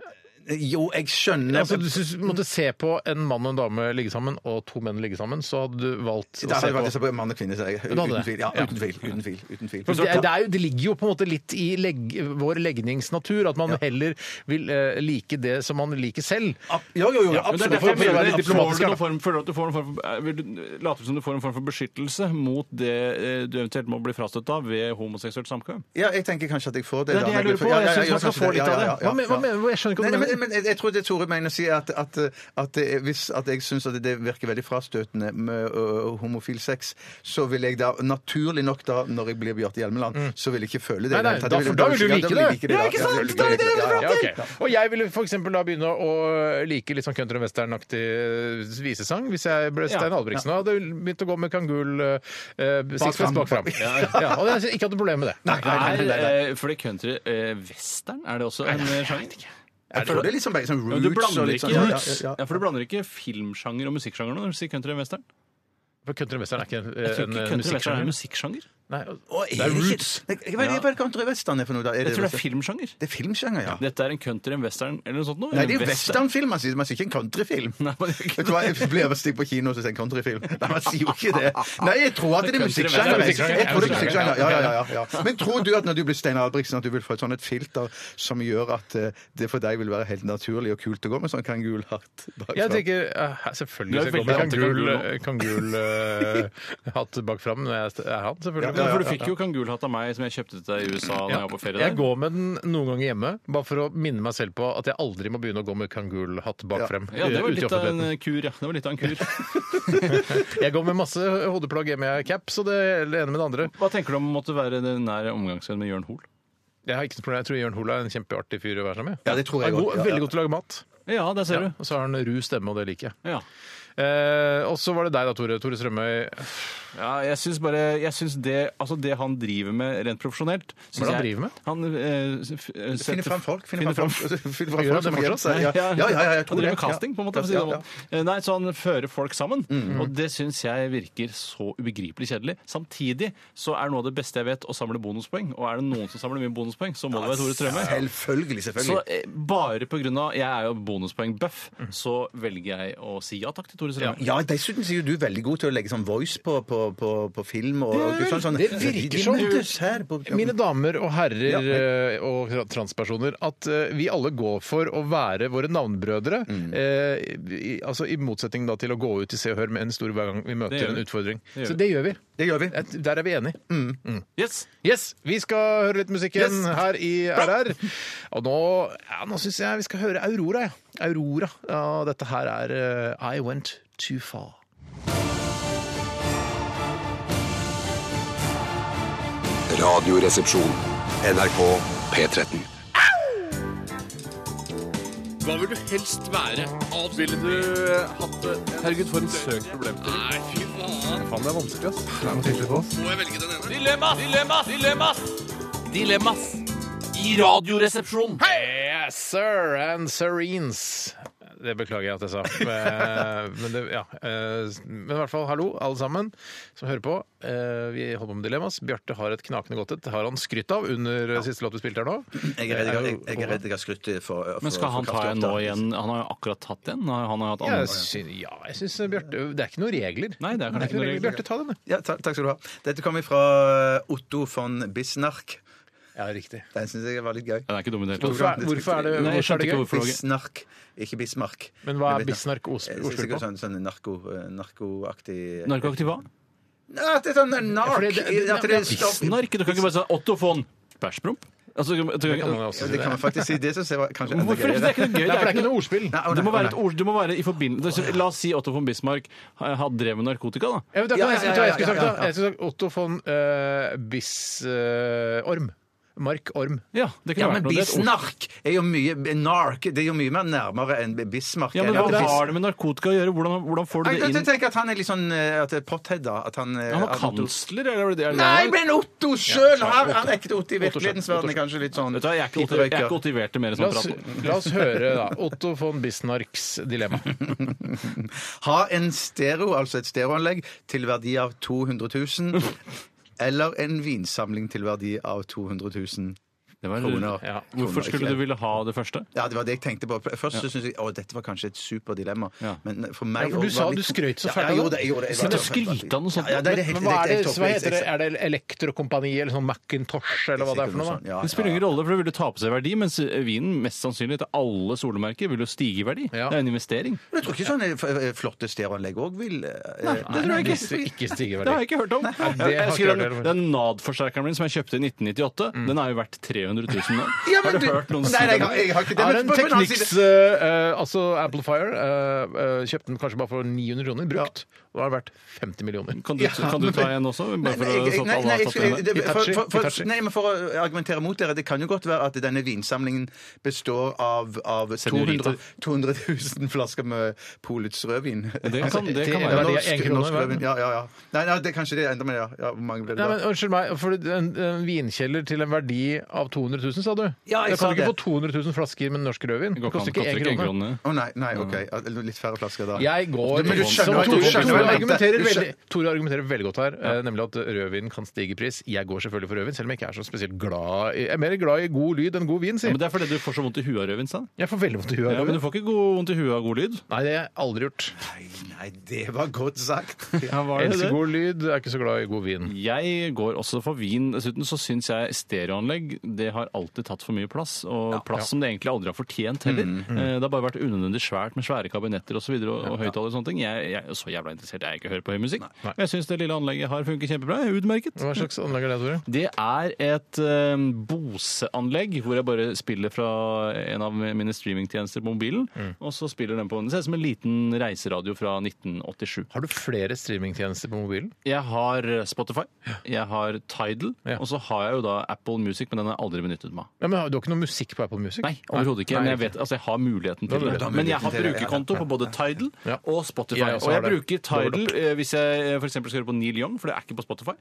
Jo, jeg skjønner Altså, du synes, du måtte se på en mann og en dame ligge sammen, og to menn ligge sammen, så hadde du valgt Da å har jeg se vært på jeg ser på mann og kvinne, sier jeg. Du hadde Uten det? tvil. Ja, Ja. uten tvil. Uten tvil. Uten tvil. For Det, er- det, er jo, det ligger jo på en måte litt i legg, vår legningsnatur at man heller vil eh, like det som man liker selv. Jo, jo, jo, Ja, men det er derfor jeg mener det. Får du noen form, føler du at du får en form for, eh, vil du late som du får en form for beskyttelse mot det eh, du eventuelt må bli frastøtt av ved homoseksuelt samkvem? Ja, jeg tenker kanskje at jeg får det. Det er da, det jeg men- lurer på. Ja, ja, Jeg ja, synes ja, man skal kanskje få det. litt Ja, av det. ja, ja, Hva men- ja. hva mener- jeg skjønner ikke hva du Nei, nei, mener. Men, men jeg tror det Tore mener å si, at, at, at det- hvis at jeg syns at det virker veldig frastøtende med ø, homofil sex, så vil jeg da naturlig nok da, når jeg blir Bjarte Hjelmeland, så vil jeg ikke føle det. Nei, nei, Det da, vil jeg- da vil du ja, like det! jeg da. Ja, da vil jeg like det, ja, ja. Ja, ok. Og jeg ville f.eks. da begynne å like litt sånn country and western-aktig eh, visesang hvis jeg ble Ja. Stein Albrigtsen. Da hadde jeg begynt å gå med Kangul eh, eh, sixpence fram. bak fram. Ja, Ja, og jeg ikke hadde problem med det. Nei, nei, nei, nei. eh, fordi country eh, western, er det også en eh, sjanger? Jeg tror det er litt sånn, bare sånn Ja, men du roots og blander litt ikke, sånn- ja, ja, ja, ja. for du blander ikke filmsjanger og musikksjanger nå når du sier country and western? For country and western er ikke en, Jeg tror en ikke country and western er musikksjanger. en musikksjanger. Nei, altså, Å, det er ikke- roots. Jeg- jeg vet ikke Hva er country western er for noe, da? Er Jeg tror det er filmsjanger. Det er filmsjanger, ja. Dette er en country and western eller noe sånt nå? Nei, det er En jo westernfilm. Man sier man sier ikke en countryfilm. Nei, men det er ikke- Vet du hva, Jeg blir overstig på kino og sier en countryfilm. Nei, man sier jo ikke [LAUGHS] det. Nei, jeg tror at det er Country- musikksjanger. Jeg musikksjanger. Jeg tror det er Musikksjanger, musikksjanger. Ja, ja, ja, ja, ja. Men tror du at når du blir Steinar Albrigtsen, at du vil få et sånt et filter som gjør at eh, det for deg vil være helt naturlig og kult å gå med sånn kangulhatt bakfra? Jeg tenker eh, selvfølgelig Du er skal jeg gå veldig med kangul, anti-kangul kangul eh, hatt bak fram når jeg er han, Ja, selvfølgelig. for du fikk jo kangulhatt av meg som jeg kjøpte til deg i USA da jeg var på ferie Jeg der. går med den noen ganger hjemme, bare for å minne meg selv på at jeg aldri må begynne å gå med kangulhatt bak frem. Ja, det var ute i litt av en offentligheten. eh, kur, ja. Det var litt av en kur. [LAUGHS] Jeg går med masse hodeplagg hjemme jeg har cap, så det er det ene med det andre. Hva tenker du om å måtte være den nær omgangsvenn med Jørn Hoel? Jeg har ikke noe problem, jeg tror Jørn Hoel er en kjempeartig fyr å være sammen med. Ja, det tror jeg Han er god, også. Ja, ja. Veldig god til å lage mat. Ja, der ser Ja, du. og så har han ru stemme, og det liker jeg. Ja. Eh, og så var det deg da, Tore. Tore Strømøy. ja jeg syns bare jeg synes det, altså det han driver med rent profesjonelt Hva er det han jeg- driver med? Han eh, s- f- eh, Finne setter- fram folk. Finne finner fram fram- [LAUGHS] folk, finne Gjør fram han det folk som har gjemt fortsatt? seg. Ja, ja, ja, ja, jeg Han tror driver det. med casting, på en måte. Ja, for å si det ja, ja. Mm, sånn. Eh, Nei, så han fører folk sammen. Og det syns jeg virker så ubegripelig kjedelig. Samtidig så er noe av det beste jeg vet, å samle bonuspoeng. Og er det noen som samler mye bonuspoeng, så må det være Tore Strømøy. Selvfølgelig, Så selvfølgelig. eh, bare på grunn av Jeg er jo bonuspoeng-buff, så velger jeg å si ja takk til Tore Strømøy. Ja, Dessuten så er jo du veldig god til å legge sånn voice på, på, på, på film. Og, og sånn, sånn, Det virker De som- møtes her på- Mine damer og herrer Ja, hei. eh, og tra- transpersoner, at eh, vi alle går for å være våre navnbrødre. Mm. eh, i, altså I motsetning da til å gå ut i Se og Hør med en stor hver gang vi Det gjør møter en vi. utfordring. Det gjør Så vi. det gjør vi. Det gjør vi. Et- Der er vi enige. Yes! Yes, Vi skal høre litt musikk igjen Mm. Yes. her i RR. Og nå, ja, nå syns jeg vi skal høre Aurora. Ja. Aurora. Ja, dette her er eh, I Went Too Far. Radioresepsjon. NRK P13. Hva vil du helst være? Alt. Ville du hatt det? Herregud, for en søk problemstilling. Nei, fy faen. Faen, det er vanskelig, ass. Det er noe tilfelle på oss. Må jeg velge den ene? Dilemmas! Dilemmas! Dilemmas! Dilemmas i Radioresepsjonen. Yes, sir and Serenes. Det beklager jeg at [LAUGHS] jeg sa. Eh, Men, det, ja. eh, Men i hvert fall hallo, alle sammen som hører på. Eh, Vi holder på med dilemmas. Bjarte har et knakende godt et. Det har han skrytt av under siste låt vi spilte her nå. Eh, Jeg er redd jeg, jeg, jeg, er redd jeg har skrytt for, for Men skal han for ta kraftig en nå opptak. igjen? Han har jo akkurat tatt en. Han har jo hatt Ja, jeg andre. syns, ja, jeg syns Bjarte Det er ikke noen regler. Nei, det er kanskje ikke noen regler. Bjarte, ta den, du. Ja, ta, takk skal du ha. Dette kommer fra eh, Otto von Bisnark. Ja, riktig. Den syns jeg var litt gøy. Ja, det er ikke dum i det hele Hvorfor tatt. er, hvorfor er det Nei, hvorfor jeg er skjønte det ikke gøy? hvorfor. det var gøy. Bisnark, ikke Bismark. Men hva er Jeg vet ikke. bisnark ords- Eh, ordspill Sikkert på? sånn, sånn narko, eh, narkoaktig Narkoaktiv hva? Nei, At det er sånn nark! Ja, fordi det- det- at det er stopp- Snark? Du kan ikke bare si Otto von Bæsjpromp? Altså, du- du- Det kan man jo også si. Det kan man faktisk si. Det synes jeg var kanskje enda Hvorfor? Det er ikke noe gøy. Nei, for det er ikke noe ordspill. Nei, å, nei, Det må være et ord, det må være i forbindelse La oss si Otto von Bismarck hadde drevet med narkotika, da. Ja, men da kan jeg- Ja, ja, vet du hva ja, jeg skulle ja, sagt, ja, da. Jeg skulle sagt Otto von eh, Biss-Orm. Mark Orm. Ja, det kunne Ja, vært men noe. Det er et ord. Bisnark er jo mye Nark, det er jo mye mer nærmere enn Bismarck. Ja, men Eller Hva at det- har det med narkotika å gjøre? Hvordan, hvordan får du Jeg det kan inn? tenke at han er litt sånn eh, at det er pothead, da. At han, eh, Han var at han- kansler, eller var det det? han Nei, var? men Otto sjøl! Ja, Han, Otto. han er ikke Otto i Otto selv, virkelighetens Otto verden. er Kanskje litt sånn Vet du hva, jeg er ikke motivert- jeg er ikke motivert til mer La sånn oss, prat. la oss høre, da. Otto von Bismarcks [LAUGHS] dilemma. Ha en stereo, altså et stereoanlegg, til verdi av 200 [LAUGHS] 000. Eller en vinsamling til verdi av 200 000 Det var en kroner. lur- Hvorfor skulle du ville ha det første? Ja, det var det jeg tenkte på. Først så syntes jeg å, dette var kanskje et superdilemma. Ja. Men for Ja, meg for du var sa litt- du skrøt så Ja, fælt jeg av gjorde det. det. Jeg gjorde det. Slutt å skryte av noe sånt. Ja, ja, det er helt- Men hva er det, helt hva heter det? topp. Er det elektrokompani eller sånn Macintosh eller hva det er for noe? Sikkert da? Ja, Det spiller ingen rolle, for det vil jo tape seg i verdi, mens vinen mest sannsynlig til alle solemerker vil jo stige i verdi. Ja. Det er en investering. Men jeg tror ikke sånne f- f- flotte stereoanlegg òg vil det Nei, tror jeg ikke. Hvis vi ikke stiger Det verdi. har jeg ikke hørt om. det har Jeg ikke husker hørt den, om. den NAD-forsterkeren min som jeg kjøpte i 1998, den er jo verdt 300 000 nå. har du hørt noen si Nei, nei, jeg, det? har- jeg har ikke det. Er men en på- på den annen Technics, side- eh, eh, altså Amplifier, eh, eh, kjøpte den kanskje bare for 900 kroner brukt. Da har det vært 50 millioner. Kan du, kan du ta en også? Bare for å, Nei, så jeg- at nei, alle nei, har jeg tatt den skulle- med? det- for- Hitachi, for- for- Hitachi. nei, men For å argumentere mot dere, det kan jo godt være at denne vinsamlingen består av, av 200, Senioriter. 200 000 flasker med Polets rødvin. Det kan, det kan Ja, være. verdi av norsk, en krone norsk hver. rødvin. Ja, ja, ja. Nei, nei, det er kanskje det enda mer, ja. ja. Hvor mange ble det Nei, men da? Unnskyld meg, for en, en vinkjeller til en verdi av 200 000, sa du? Ja, jeg da kan sa du ikke det. få 200 000 flasker med norsk rødvin. Det Det går koster ikke én ikke en krone. krone. Å nei, nei, OK. Ja, Litt færre flasker da. Jeg Altså, går Men du skjønner hva- som du Tore, skjønner hva Tore, jeg mente. argumenterer Du skjønner- veldig, Tore argumenterer veldig godt her, eh, nemlig at rødvin kan stige i pris. Jeg går selvfølgelig for rødvin, selv om jeg ikke er så spesielt glad i Jeg er mer glad i god lyd enn god vin, Ja, sier men det er fordi du får så vondt i huet av rødvin, sa han. Jeg får veldig vondt i huet. av Ja, men rødvin. du får ikke god, vondt i huet av god lyd. Nei, det har jeg aldri gjort. Nei, nei, det var godt sagt. [LAUGHS] Ja, var det Elsker det? god lyd, er ikke så glad i god vin. Jeg går også for vin. Dessuten så syns jeg stereoanlegg det har alltid tatt for mye plass. Og plass som det egentlig aldri har fortjent heller. Eh, Det har bare vært unødvendig svært med svære kabinetter osv. Og, så videre, og, og høyttalere og sånne ting. Jeg, jeg er så jævla interessert. Jeg er ikke hører på høy musikk. Jeg syns det lille anlegget har funket kjempebra. Jeg er Utmerket. Hva slags anlegg er det, Tore? Det er et eh, Bose-anlegg hvor jeg bare spiller fra en av mine streamingtjenester på mobilen. Mm. Og så spiller den på Det ser ut som en liten reiseradio fra 1987. Har du flere streamingtjenester på mobilen? Jeg har eh, Spotify, jeg har Tidal, Ja. og så har jeg jo da Apple Music, men den har jeg aldri benyttet meg av. Ja, men har- Du har ikke noe musikk på Apple Music? Nei, overhodet ikke. Nei, Men jeg, vet, altså, jeg har muligheten til det. muligheten Men jeg har til det, ja, ja. brukerkonto på både Tidal Ja. og Spotify. Jeg også og jeg har det. bruker Tidal eh, hvis jeg f.eks. skal høre på Neil Young, for det er ikke på Spotify.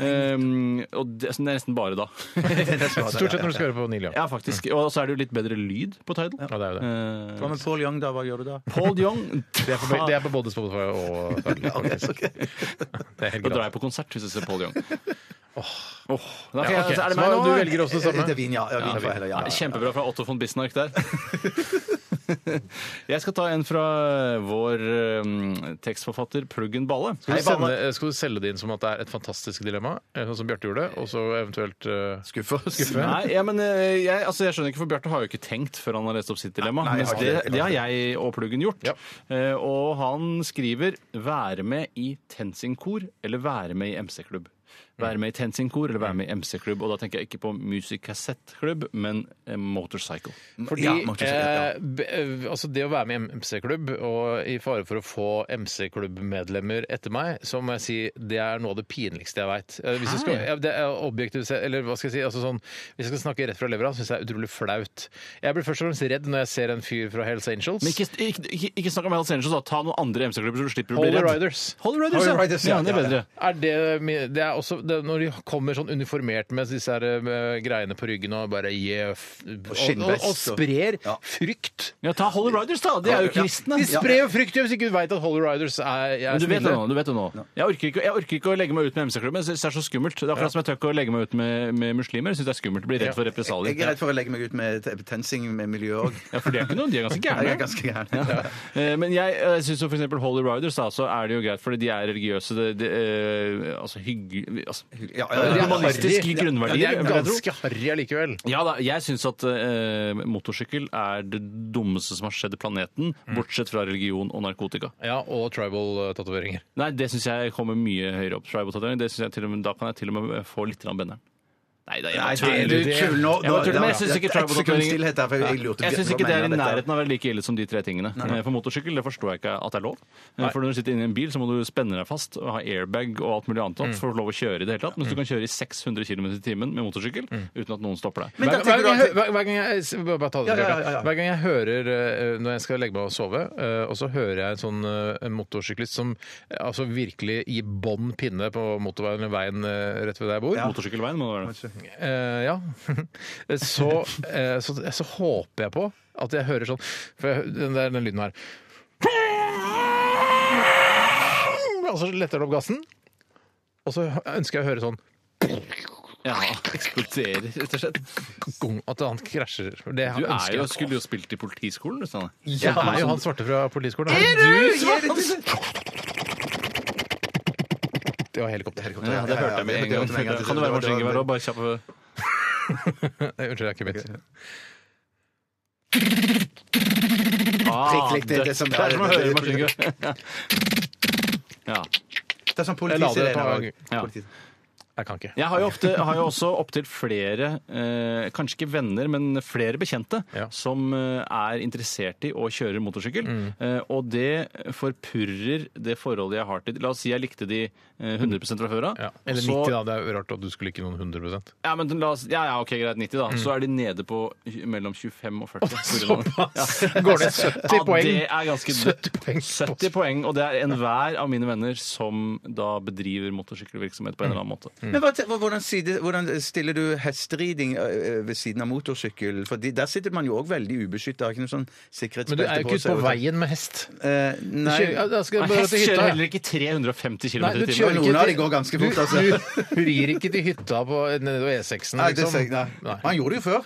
Ehm, og det, så det er nesten bare da. [LAUGHS] Stort sett når du skal høre på Neil Young. ja, faktisk. Og så er det jo litt bedre lyd på Tidal. Ja, det er jo det. Eh, Hva med Paul Young, da? Hva gjør du da? Paul Young [LAUGHS] Det er på, det er på både Spotify [LAUGHS] og Tidal, faktisk. Det er helt Da drar greit. jeg på konsert hvis jeg ser [LAUGHS] Paul Young. Åh. Da kan Ja, jeg- ok. altså, Er det Så meg nå? Eh, Du eller? velger også det Eh, Det samme? er vin, ja. ja, vin for heller, ja, Nei, ja. Kjempebra fra Otto von Bismarck [LAUGHS] der. Jeg skal ta en fra vår eh, tekstforfatter Pluggen Balle. Skal du, Hei, Balle. sende, skal du selge det inn som at det er et fantastisk dilemma, eh, sånn som Bjarte gjorde, og så eventuelt eh, Skuffe oss. Nei, ja, men eh, jeg, altså, jeg skjønner ikke, for Bjarte har jo ikke tenkt før han har lest opp sitt dilemma. Nei, jeg mens har ikke det, det. det har jeg og Pluggen gjort. Ja. Eh, og han skriver 'være med i TenSing-kor' eller 'være med i MC-klubb'. Mm. Være med i TenSing-kor eller være med i MC-klubb. Og da tenker jeg ikke på musikkassettklubb, men eh, motorcycle. Fordi Ja, måtte jeg si, ja. eh, be- eh, altså det å være med i MC-klubb, og i fare for å få MC-klubbmedlemmer etter meg, så må jeg si det er noe av det pinligste jeg veit. Hvis jeg skal, ja, det er objektivt sett, eller hva skal jeg si, altså sånn, hvis jeg skal snakke rett fra levra, syns jeg det er utrolig flaut. Jeg blir først og fremst redd når jeg ser en fyr fra Hells Angels. Men ikke, ikke, ikke, ikke snakk om Hells Angels, da. Ta noen andre MC-klubber, så du slipper å bli Holy redd. Riders. Holy Riders, ja. Holy Riders, ja, ja. Det er ja, bedre. Er det, mi- det er også det, er Når de kommer sånn uniformert med disse her, eh, greiene på ryggen og bare yeah, f- og, og, skinnvest, og og- sprer Ja. frykt Ja, ta Holy Riders, da! De er jo Ja. kristne. De sprer jo frykt hvis ikke du veit at Holy Riders er, er Men du vet det snille. nå. du vet det nå. Jeg orker ikke, jeg orker ikke å legge meg ut med MC-klubben. Jeg synes det er så skummelt. Det er akkurat som jeg tør ikke å legge meg ut med, med muslimer. Jeg synes det er skummelt. Blir redd for Jeg er represalier. redd for å legge meg ut med t- tensing med miljø òg. Ja, for de er ikke noe, de er ganske [LAUGHS] Jeg gærne. er ganske gæren. Eh, Men jeg, jeg syns for eksempel Holy Riders, da, så er det jo greit, fordi de er religiøse. Det, det, eh, altså hyggelig altså, Ja, ja, ja, De er ja. Humanistiske harry. grunnverdier, Ja, vil De er jeg tro. ganske harry allikevel. Ja da, jeg syns at eh, motorsykkel er det dummeste som har skjedd planeten, Mm. bortsett fra religion og narkotika. Ja, og tribal-tatoveringer. Nei, det syns jeg kommer mye høyere opp. Tribal tatovering. Det synes jeg til og med, da kan jeg til og med få litt grann benderen. Nei, da, jeg Nei, var det tull. er du tull nå. Jeg var Nå- tull, men jeg da- syns ikke det er et sekund tribal-tatoveringer- stillhet her, for jeg- jeg Ja. lurte på Jeg syns hva ikke det er mener i han dette her. nærheten av å være like ille som de tre tingene. Eh, For motorsykkel det forstår jeg ikke at det er lov. Eh, Nei. For når du sitter inne i en bil, så må du spenne deg fast og ha airbag og alt mulig annet Mm. for å få lov å kjøre i det hele tatt. Mens du kan kjøre i 600 km i timen med motorsykkel uten at noen stopper deg. Hver, hver, Hver- hver gang jeg hø- hver, hver gang jeg s- bare- bare ta det, Ja, ja, ja, Bjarte. ja. Hver gang jeg hører eh, når jeg skal legge meg og sove, eh, og så hører jeg en sånn eh, en motorsyklist som eh, altså virkelig gir bånn pinne på motorveien eller veien eh, rett ved der jeg bor Motorsykkelveien må det være. Eh, Ja. [LAUGHS] så, eh, så, så håper jeg på at jeg hører sånn For jeg, hø- den, der, den lyden her Og så letter det opp gassen. Og så ønsker jeg å høre sånn Ja, eksploderer, rett og slett. At han krasjer. Det Du ønsker er jeg jo, ikke. skulle jo spilt i politiskolen, du, Steinar. Jeg altså, er jo han svarte fra politiskolen. Er Er du du Det var helikopter. Ja, det hørte jeg med en gang. Kan du være maskingevær òg, bare kjapp Nei, Unnskyld, det er ikke mitt. Ah, Prikk likt, det er det som- det er som å høre [LAUGHS] maskingevær. Ja. Det er sånn Jeg la det politisirene. på en gang. også. Ja. Politi- Jeg kan ikke. Jeg har jo, ofte, har jo også opptil flere, eh, kanskje ikke venner, men flere bekjente, som eh, er interessert i å kjøre motorsykkel. Mm. Eh, og det forpurrer det forholdet jeg har til La oss si jeg likte de eh, 100 fra før av. Eller og så- 90, da. Det er jo rart at du skulle ikke noen 100 Ja, men la oss, ja, ja, ok, greit, 90 da. Mm. Så er de nede på mellom 25 og 40. såpass. Ja. Går det 70 poeng? Ja, det er ganske 70 poeng. 70 poeng, og det er enhver av mine venner som da bedriver Mm. motorsykkelvirksomhet på en eller annen måte. Men hva, hva- hvordan, side, hvordan stiller du hesteriding ø, ø, ved siden av motorsykkel? For der sitter man jo òg veldig ubeskytta, har ikke noe Men sånn du er sikkerhetsbelte jo ikke ute på veien med hest. Eh, sånn. nei. Du kjører- ja, da skal jeg Men bare hest til hytta, kjører ja. heller ikke 350 km Nei, i du timen. kjører Noen av de til- går ganske du- fort, altså. Du rir ikke til hytta på, eh, nede på E6-en, liksom. Nei, det ser jeg- nei. Han gjorde det jo før.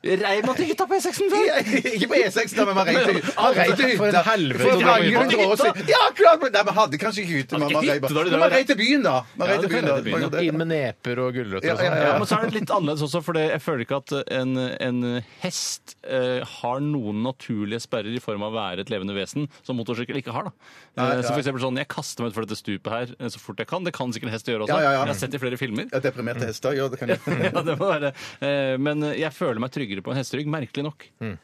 Rei måtte hytta på E6-en [LAUGHS] [LAUGHS] Ikke på E6, da, men man rei til Han rei til hytta. hytta. For en helvete å For dra på mange hytta. hundre år siden. Ja, klart! Men nei, man hadde kanskje ikke hytte. Hadde Man, ikke man, rei, hytte, da, det bare- men der. man rei til byen, da. Man Ja, rei du til kan rei byen, da. til byen, ja. Inn med neper og gulrøtter Ja, og sånn. ja, ja. Men så er det litt annerledes også, for det- jeg føler ikke at en, en hest eh, har noen naturlige sperrer i form av å være et levende vesen, som motorsykkel ikke har. da. Nei, Eh, så for nei. eksempel sånn, jeg kaster meg utfor dette stupet her eh, så fort jeg kan. Det kan sikkert en hest gjøre også. Ja, ja, ja. Jeg har sett det i flere filmer. Ja, deprimerte hester gjør det, kan jeg. [LAUGHS] [LAUGHS] ja, det må være. Eh, Men jeg føler meg tryggere på en hesterygg, merkelig nok.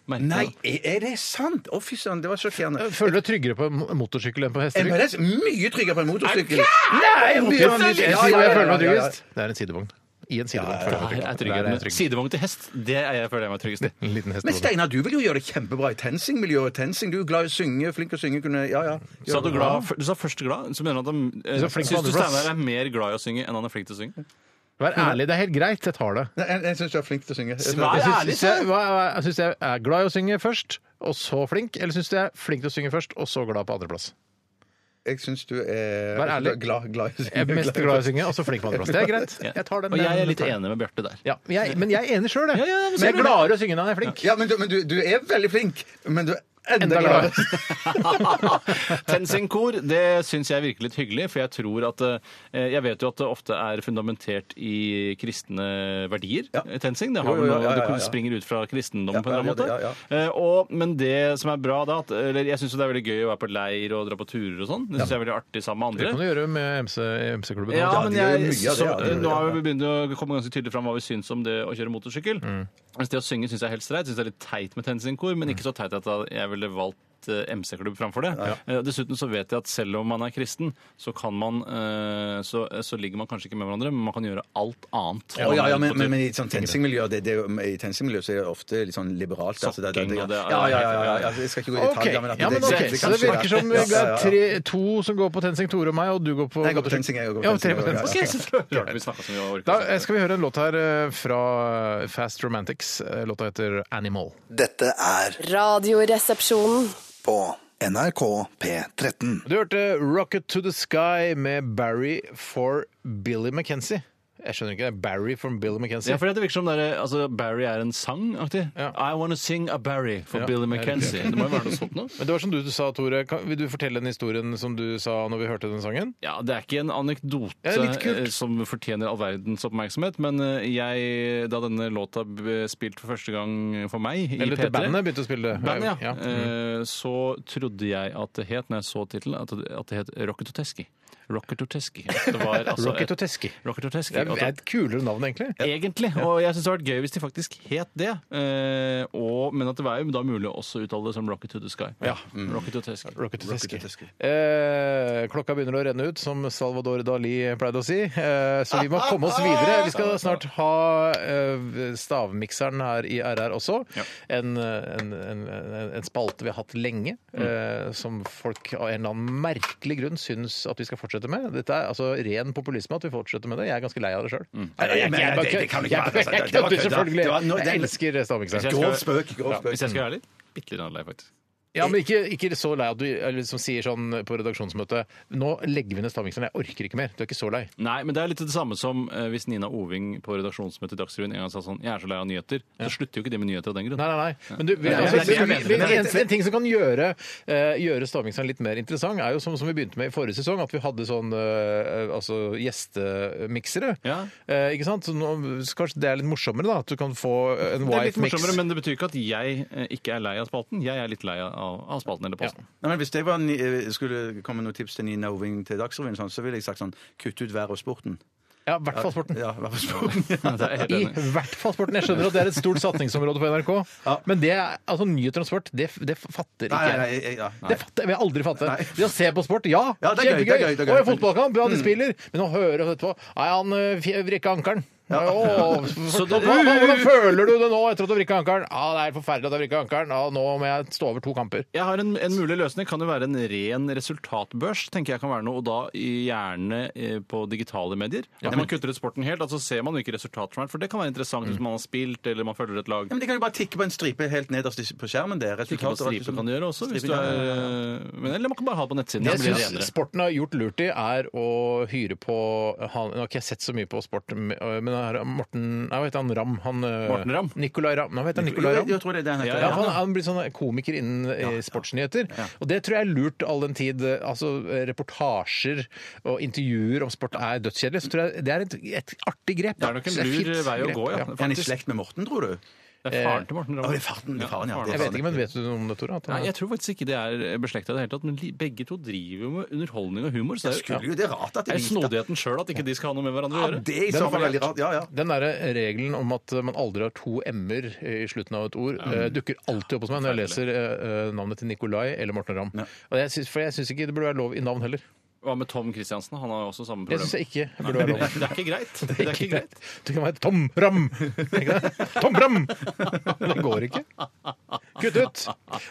Merkelig Nei, nok. er er det sant? Å, fy søren, det var sjokkerende. Føler du deg tryggere på en mo- motorsykkel enn på En hesterygg? MRS mye tryggere på en motorsykkel. Nei, Bjørn, Bjørn, du- jeg sier ja, hvor ja, jeg ja, føler meg ja, ja. tryggest. Det er en sidevogn. I en sidevogn. føler jeg meg Der er tryggest. Der tryggheten. er jeg trygg. Sidevogn til hest, det er jeg føler jeg meg tryggest i. En liten Men hestevogn. Steinar, du vil jo gjøre det kjempebra i TenSing-miljøet. TenSing, Du er glad i å synge, flink til å synge. Kunne, ja, ja. Sa du, glad, du sa først glad, så mener du at han eh, Du sa flink på Syns du andreplass. Steinar er mer glad i å synge enn han er flink til å [LAUGHS] synge? Vær ærlig, det er helt greit. Jeg tar det. Nei, jeg jeg syns du er flink til å synge. Svar Jeg ærlig, syns jeg, hva- jeg synes jeg er glad i å synge først, og så flink, eller syns jeg er flink til å synge først, og så glad på andreplass? Jeg syns du er Vær ærlig. Glad, glad i å synge. Jeg er mest glad i å synge, og så flink på andreplass. [LAUGHS] Det er greit. Jeg tar den. Og jeg er litt den- enig med Bjarte [LAUGHS] der. Ja, men jeg, men jeg er enig sjøl, jeg. ja, men men så er jeg det- klarer å synge når jeg er flink. Ja, men du, men du, du er veldig flink, men du er enda, Enda gladere. gladere. Tensing-kor, det syns jeg er virkelig litt hyggelig, for jeg tror at eh, Jeg vet jo at det ofte er fundamentert i kristne verdier, eh, tensing. Det, har Jo, jo, vel jo, noe- ja, ja, ja, det ja. springer ut fra kristendommen Ja, på en eller annen ja, ja, måte. Eh, og, men det som er bra da at, eller Jeg syns jo det er veldig gøy å være på leir og dra på turer og sånn. Det syns jeg er veldig artig sammen med Det kan andre. du gjøre med MC-klubben. Ja, men jeg, mye av det, så, ja, de gjør nå har vi begynt å komme ganske tydelig fram hva vi syns om det å kjøre motorsykkel. Mens det å synge syns jeg er helt streit. Syns det er litt teit med tensingkor, men ikke så teit at jeg ville valgt eh, MC-klubb framfor det. Eh, Dessuten så vet jeg at selv om man er kristen, så kan man eh, så, så ligger man kanskje ikke med hverandre, men man kan gjøre alt annet. [LAUGHS] Å, ja, ja, men, På tur. men, men i sånn TenSing-miljø det, det, er jo- i TenSing-miljø så er det ofte litt sånn liberalt. altså, det- det- Sokking og det- ja, ja, ja, ja, ja. Jeg skal ikke gå i Ok, detalj, at ja, men det- ok, det- Så det kanskje- virker som Ja, det ja, er ja. tre, to som går på TenSing, Tore og meg, og du går på Nei, jeg går på TenSing, jeg går på Ja, TenSing, tre på jeg går på TenSing. Ok, [LAUGHS] så klart vi snakket så mye om Da orker. eh, skal vi høre en låt her eh, fra Fast Romantics. Eh, Låta heter Animal. Dette er Radioresepsjonen. på NRK P13. Du hørte Rocket to the Sky med Barry for Billy McKenzie. Jeg skjønner ikke det. er Barry for Billy McKenzie. Ja, for det virker som det er, altså, Barry er en sang, aktig. I wanna sing a Barry for Ja. Billy McKenzie. Det må jo være noe sånt [LAUGHS] nå. Men det var som du, sa, Tore. Kan, vil du fortelle den historien som du sa når vi hørte den sangen? Ja, Det er ikke en anekdote Ja, litt kult. eh, som fortjener all verdens oppmerksomhet, men eh, jeg, da denne låta ble spilt for første gang for meg i Eller P3 dette bandet begynte å spille det. Bandet, ja. Mm. Eh, Så trodde jeg at det het, når jeg så tittelen, at det- at det het Rocketoteski. Rocker Torteski. Det var [LAUGHS] altså Rocket et- og Teski. Rocker Torteski. Det er og et kulere navn, egentlig. Egentlig. Og jeg syns det hadde vært gøy hvis de faktisk het det. Eh, og, men at det var jo da mulig å også uttale det som Rocket to the Sky. Ja. mm. Rocket to Tesk. Rocket to Teske. Eh, klokka begynner å renne ut, som Salvador Dali pleide å si. Eh, så vi må komme oss videre. Vi skal snart ha eh, stavmikseren her i RR også. En, en, en, en spalte vi har hatt lenge, eh, som folk av en eller annen merkelig grunn syns at vi skal fortsette med. Dette er altså ren populisme at vi fortsetter med det. Jeg er ganske lei av det sjøl. Selvfølgelig. Jeg elsker stavmikseren. Grov spøk. grov Ja, spøk. Hvis jeg skal være litt bitte litt annerledes, faktisk. Ja, men ikke, ikke så lei at du eller liksom sier sånn på redaksjonsmøtet Nå legger vi ned stavmikseren, jeg orker ikke mer. Du er ikke så lei. Nei, men det er litt det samme som eh, hvis Nina Oving på redaksjonsmøtet i Dagsrevyen en gang sa sånn 'Jeg er så lei av nyheter', så slutter jo ikke de med nyheter av den grunn. Nei, nei, nei. Men du, vi, Ja, altså, det er det jeg vi, mener. vi, Det er en, en ting som kan gjøre, eh, gjøre stavmikseren litt mer interessant, er jo som, som vi begynte med i forrige sesong, at vi hadde sånn eh, altså gjestemiksere. Eh, ikke sant? Så nå, så kanskje det er litt morsommere, da. At du kan få en Det er litt wife mix. morsommere, men det betyr ikke at jeg eh, ikke er lei av spalten. Jeg er litt lei av, av spalten eller posten. Nei, men hvis jeg var, ni- eh, skulle komme med noen tips til Nina Oving til Dagsrevyen, sånn, så ville jeg sagt sånn Kutt ut været og sporten. Ja, i hvert fall sporten. Ja, i hvert fall sporten. [LAUGHS] I hvert fall sporten. Jeg skjønner at det er et stort satsingsområde på NRK, men det, er- altså, nyheter om sport, det, det fatter ikke [LAUGHS] Nei, nei, nei, ja, nei. Det fatter, vil jeg aldri fatte. Det å se på sport, ja, Ja, det er gøy, kjempegøy. det er gøy, Mm. det er Og gøy. en fotballkamp, ja, de spiller. Men å høre etterpå Nei, han eh, fj- vrikka ankelen. [LAUGHS] Åh, Så da- hva, hva, hvordan føler du det nå etter at du har vrikka ankelen? Ja, det er helt forferdelig at jeg har vrikka ankelen. Ja, nå må jeg stå over to kamper. Jeg har en, en mulig løsning. Kan jo være en ren resultatbørs. tenker jeg kan være noe, Og da i- gjerne eh, på digitale medier. At man kutter ut sporten helt. altså ser man jo ikke resultater som er. For det kan være interessant Mm. hvis man har spilt eller man følger et lag. Ja, men De kan jo bare tikke på en stripe helt nederst i- på skjermen. Det er Ikke på resultatet. stripen liksom sånn. kan du gjøre også. Hvis du Stripen, ja, ja, er, eh, men, eller man kan bare ha det på nettsiden. Det da blir jeg det syns renere. sporten har gjort lurt i, er å hyre på han, Nå har ikke jeg sett så mye på sport, men det er Morten Nei, hva heter han? Ramm? Han, eh, Morten Ramm? Nicolai Ramm. Nå heter han Nico- Nicolai Jo, Ramm. jeg tror det er det han heter. Ja, Ja, han, ja. han blir sånn komiker innen eh, sportsnyheter. Og det tror jeg er lurt all den tid eh, altså, eh, reportasjer og intervjuer om sport er dødskjedelig. Så tror jeg det er et, et artig grep. Det er nok en lur vei å gå, ja, Er han i slekt med Morten, tror du? Det er faren til Morten Ramm. Å, det er faren, det er faren, ja. Det er Jeg faren. vet ikke, men vet du noe om det, Tore? At han- Nei, jeg tror faktisk ikke det er beslekta i det hele tatt, men li- begge to driver jo med underholdning og humor. Så det Jeg skulle jo- det er rart at de er vet det. snodigheten sjøl at ikke de skal ha noe med hverandre å Ja, gjøre. det er i så fall veldig rart. Ja, ja. Den derre regelen om at eh, man aldri har to m-er i slutten av et ord, eh, dukker alltid opp hos meg når jeg leser eh, eh, navnet til Nikolai eller Morten Ramm. Og jeg syns- For jeg syns ikke det burde være lov i navn heller. Hva med Tom Kristiansen? Han har også samme Jeg problem. syns jeg ikke Nei, burde være lov. Det er ikke greit. Det er ikke greit. [LAUGHS] Du kan være Tom Ramm! Ikke det? Tom Ramm! Det går ikke. Kutt ut!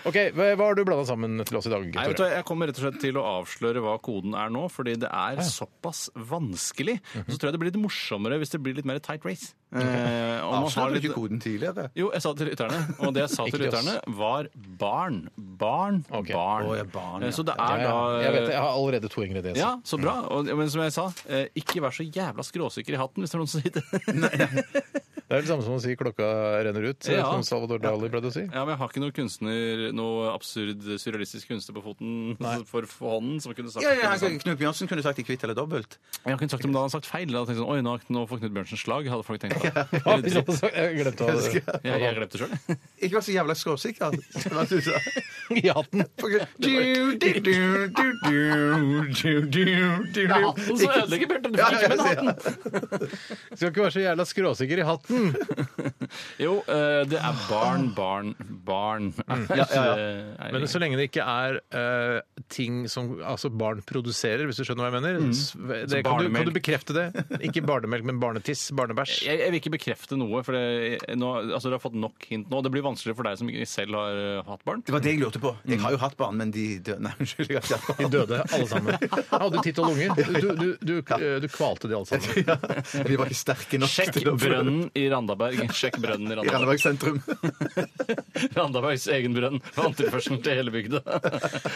OK, hva hva har du blanda sammen til oss i dag? Nei, vet du, hva, jeg kommer rett og slett til å avsløre hva koden er nå, fordi det er såpass vanskelig. Mhm. Så tror jeg det blir litt morsommere hvis det blir litt mer tight race. Mm-hmm. Eh, og man har Avslørte du litt- ikke koden tidligere? Jo, jeg sa det til lytterne, og det jeg [LAUGHS] sa til Ikke til oss. lytterne, var barn. Barn, barn. Å, ja, barn, ja. Eh, Så det er Ja, ja. da eh, Jeg vet det, jeg har allerede to ingredienser. Ja, så bra. Og, men som jeg sa, eh, ikke vær så jævla skråsikker i hatten hvis det er noen som [LAUGHS] sier det. Det er det samme som å si klokka renner ut, Ja. som Salvador Dali pleide å si. Ja, men jeg har ikke noe kunstner, noe absurd surrealistisk kunstner på foten for for hånden som kunne sagt Ja, ja, det han- sånn. Altså, Knut Bjørnsen kunne sagt i kvitt eller dobbelt. Jeg kunne sagt om da han hadde sagt feil. Da hadde jeg tenkt sånn, Oi, nå, nå får Knut Bjørnsen slag, hadde folk [LAUGHS] tenkt. Da. Ja, hvis jeg hadde sagt- jeg glemte å Jeg, jeg glemte det sjøl. Ikke vær så jævla skråsikker. som han synes. [LAUGHS] [LAUGHS] I hatten. Du, du, du, du, du, du, du, du. Det er hatten som ødelegger, Bjarte. Du Ja, får ikke med ja, ja. den hatten. Skal ikke være så jævla skråsikker i hatten. [LAUGHS] Jo, eh, det er barn, barn, barn. [LAUGHS] Ja, Men så lenge det ikke er eh, ting som altså barn produserer, hvis du skjønner hva jeg mener. s- Det, Så kan, du, barnemelk. kan du bekrefte det? Ikke barnemelk, men barnetiss, barnebæsj. jeg, jeg vil ikke bekrefte noe, for det, nå, altså, dere har fått nok hint nå. Det blir vanskeligere for deg som ikke selv har eh, hatt barn. Det var det jeg lurte på. Jeg har jo hatt barn, men de døde. Nei, unnskyld. jeg har ikke hatt barn. De [LAUGHS] døde, alle [LAUGHS] sammen. Jeg hadde ti tolv unger. Du, du, du, eh, du kvalte de alle sammen. De var ikke sterke nok [LAUGHS] Sjekk til å brønnen i Randaberg. Sjekk brønnen i I Randaberg. Randaberg sentrum. Randabergs egen brønn for antilførselen til hele bygda.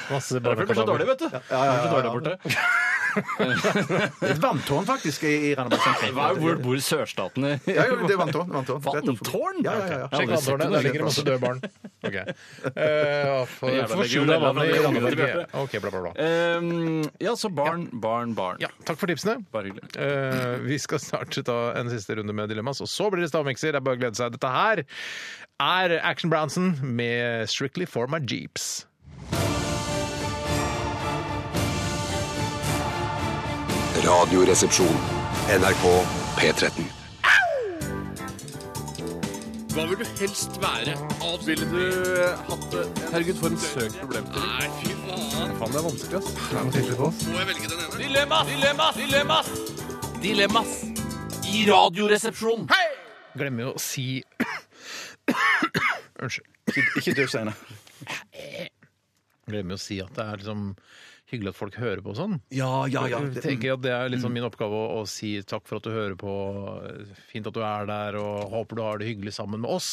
Masse Derfor blir det så dårlig, vet du. Det blir så dårlig der borte. Et vanntårn, faktisk, i i Randaberg sentrum. Hva er, hvor bor sørstatene? Ja, jo, det er vanntårn. vanntårn. Vanntårn? Ja, ja, ja. Sjekk vanntårnet, der ligger det masse døde barn. Ok. Eh, for, Jævla for skjul av vannet i Randaberg. Bjarte. Ok, bla, bla, bla. Ehm, ja, så barn, barn, barn. Ja, takk for tipsene. Bare hyggelig. Eh, vi skal snart ta en siste runde med Dilemmas, og så blir det stavmikser. Det er bare å glede seg. Dette her er Action Bronson med Strictly for my jeeps. Radioresepsjon. NRK P13. Hva vil du helst være? Alt ville du eh, hatt det? Herregud, for en søkt problemstilling. Nei, fy faen. Faen, det er vanskelig, ass. Det er vanskelig på oss. Må jeg velge den ene? Dilemmas, dilemmas, dilemmas! Dilemmas i Radioresepsjonen. Hei! Glemmer jo å si [COUGHS] Unnskyld. Ikke du, Steinar. Glemmer jo å si at det er liksom hyggelig at folk hører på og sånn. Ja, ja, ja. Mm. Jeg tenker at Det er liksom min oppgave å, å si takk for at du hører på, fint at du er der, og håper du har det hyggelig sammen med oss.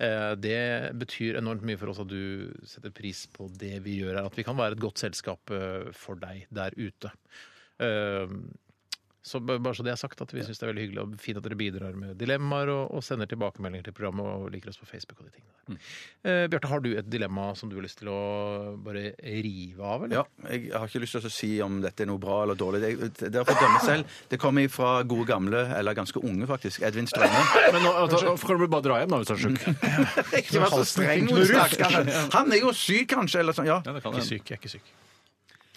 Eh, Det betyr enormt mye for oss at du setter pris på det vi gjør her. At vi kan være et godt selskap eh, for deg der ute. Eh, Så b- bare så det er sagt, at vi syns det er veldig hyggelig og fint at dere bidrar med dilemmaer og, og sender tilbakemeldinger til programmet og liker oss på Facebook og de tingene Mm. der. Eh, Bjarte, har du et dilemma som du har lyst til å bare rive av, eller? Ja, jeg har ikke lyst til å si om dette er noe bra eller dårlig. Det, det er for å dømme selv. Det kommer fra gode gamle, eller ganske unge faktisk, Edvin Strømme. [LAUGHS] Men nå, altså, Hvorfor kan du bare dra hjem nå hvis du er sjuk? Ikke vær så streng mot stakkaren. Han er jo syk, kanskje, eller sånn. Ja. Ikke syk, jeg er ikke syk.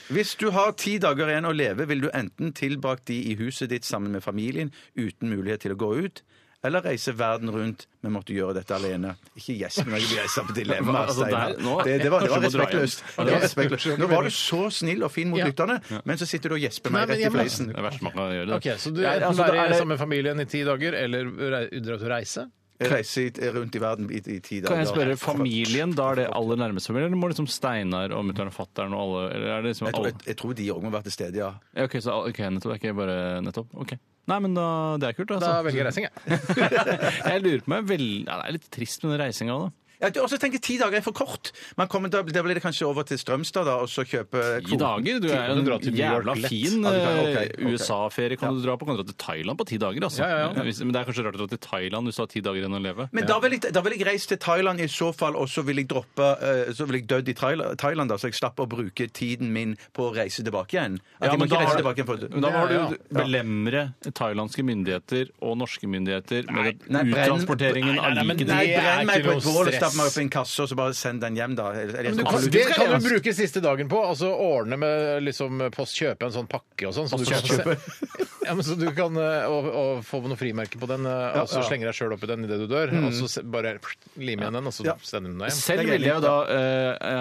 Hvis du har ti dager igjen å leve, vil du enten tilbrakt de i huset ditt sammen med familien uten mulighet til å gå ut, eller reise verden rundt, men måtte gjøre dette alene. Ikke gjesp når jeg blir reist av [LAUGHS] dilemma. Altså, Steinar. der- nå- det, det var, det var kanskje du må dra hjem. respektløst. Det var respektløst. Nå var du så snill og fin mot Ja. lytterne, men så sitter du og gjesper Nei, meg men rett jeg i må- fleisen. Det er verst man kan gjøre det. Ok, Så du Nei, enten altså, være da er det- sammen med familien i ti dager, eller rei- dra ut og reise? Reise i- eh, rundt i verden i, i ti dager. Kan jeg spørre, familien, da er det aller nærmeste familie, eller må liksom Steinar og mutter'n og fatter'n og alle eller er det liksom Jeg tror, alle? jeg, jeg tror de òg må være til stede, ja. Ja, Ok, så ok, nettopp, det er ikke bare nettopp? Ok. Nei, men da, det er kult, altså. Da velger jeg reising, jeg. [LAUGHS] Jeg lurer på meg vel... ja, Det er litt trist med den reisinga, da. Jeg har også altså, tenker Ti dager er for kort. Man kommer, da, da blir det kanskje over til Strømstad da, og så kjøpe Ti dager? Du er jo Du drar til en New York jævla lett. fin Ja, du kan- ok, ok. eh, USA-ferie kan du dra på. Kan du dra til Thailand på ti dager, altså. Ja, ja, ja. Hvis- Men det er kanskje rart å dra til Thailand hvis du har ti dager igjen å leve. Men da vil, jeg, da vil jeg reise til Thailand i så fall, og så vil jeg droppe eh, Så vil jeg dødd i Thail- Thailand, da, så jeg slapp å bruke tiden min på å reise tilbake igjen. At jeg må ikke reise tilbake igjen for... men da har Ja, du belemre thailandske myndigheter og norske myndigheter med Nei, brenn- uttransporteringen av Nei, nei, men liket det Nei, ditt. er brenn meg ikke noe på et bål og stress. stapp meg opp i en kasse, og så bare send den hjem, da. Eller- eller- Men du kan, Absolutt. det kan du bruke siste dagen på. Altså Ordne med liksom, post, kjøpe en sånn pakke og sånn. Så, du kan- [LAUGHS] ja, men så du kan eh, og, og få noen frimerker på den, eh, og så slenge deg sjøl oppi den idet du dør. Mm. Og så se- bare pst, lime igjen den, og så sende den deg hjem. Det Selv er ville gøy. jeg jo da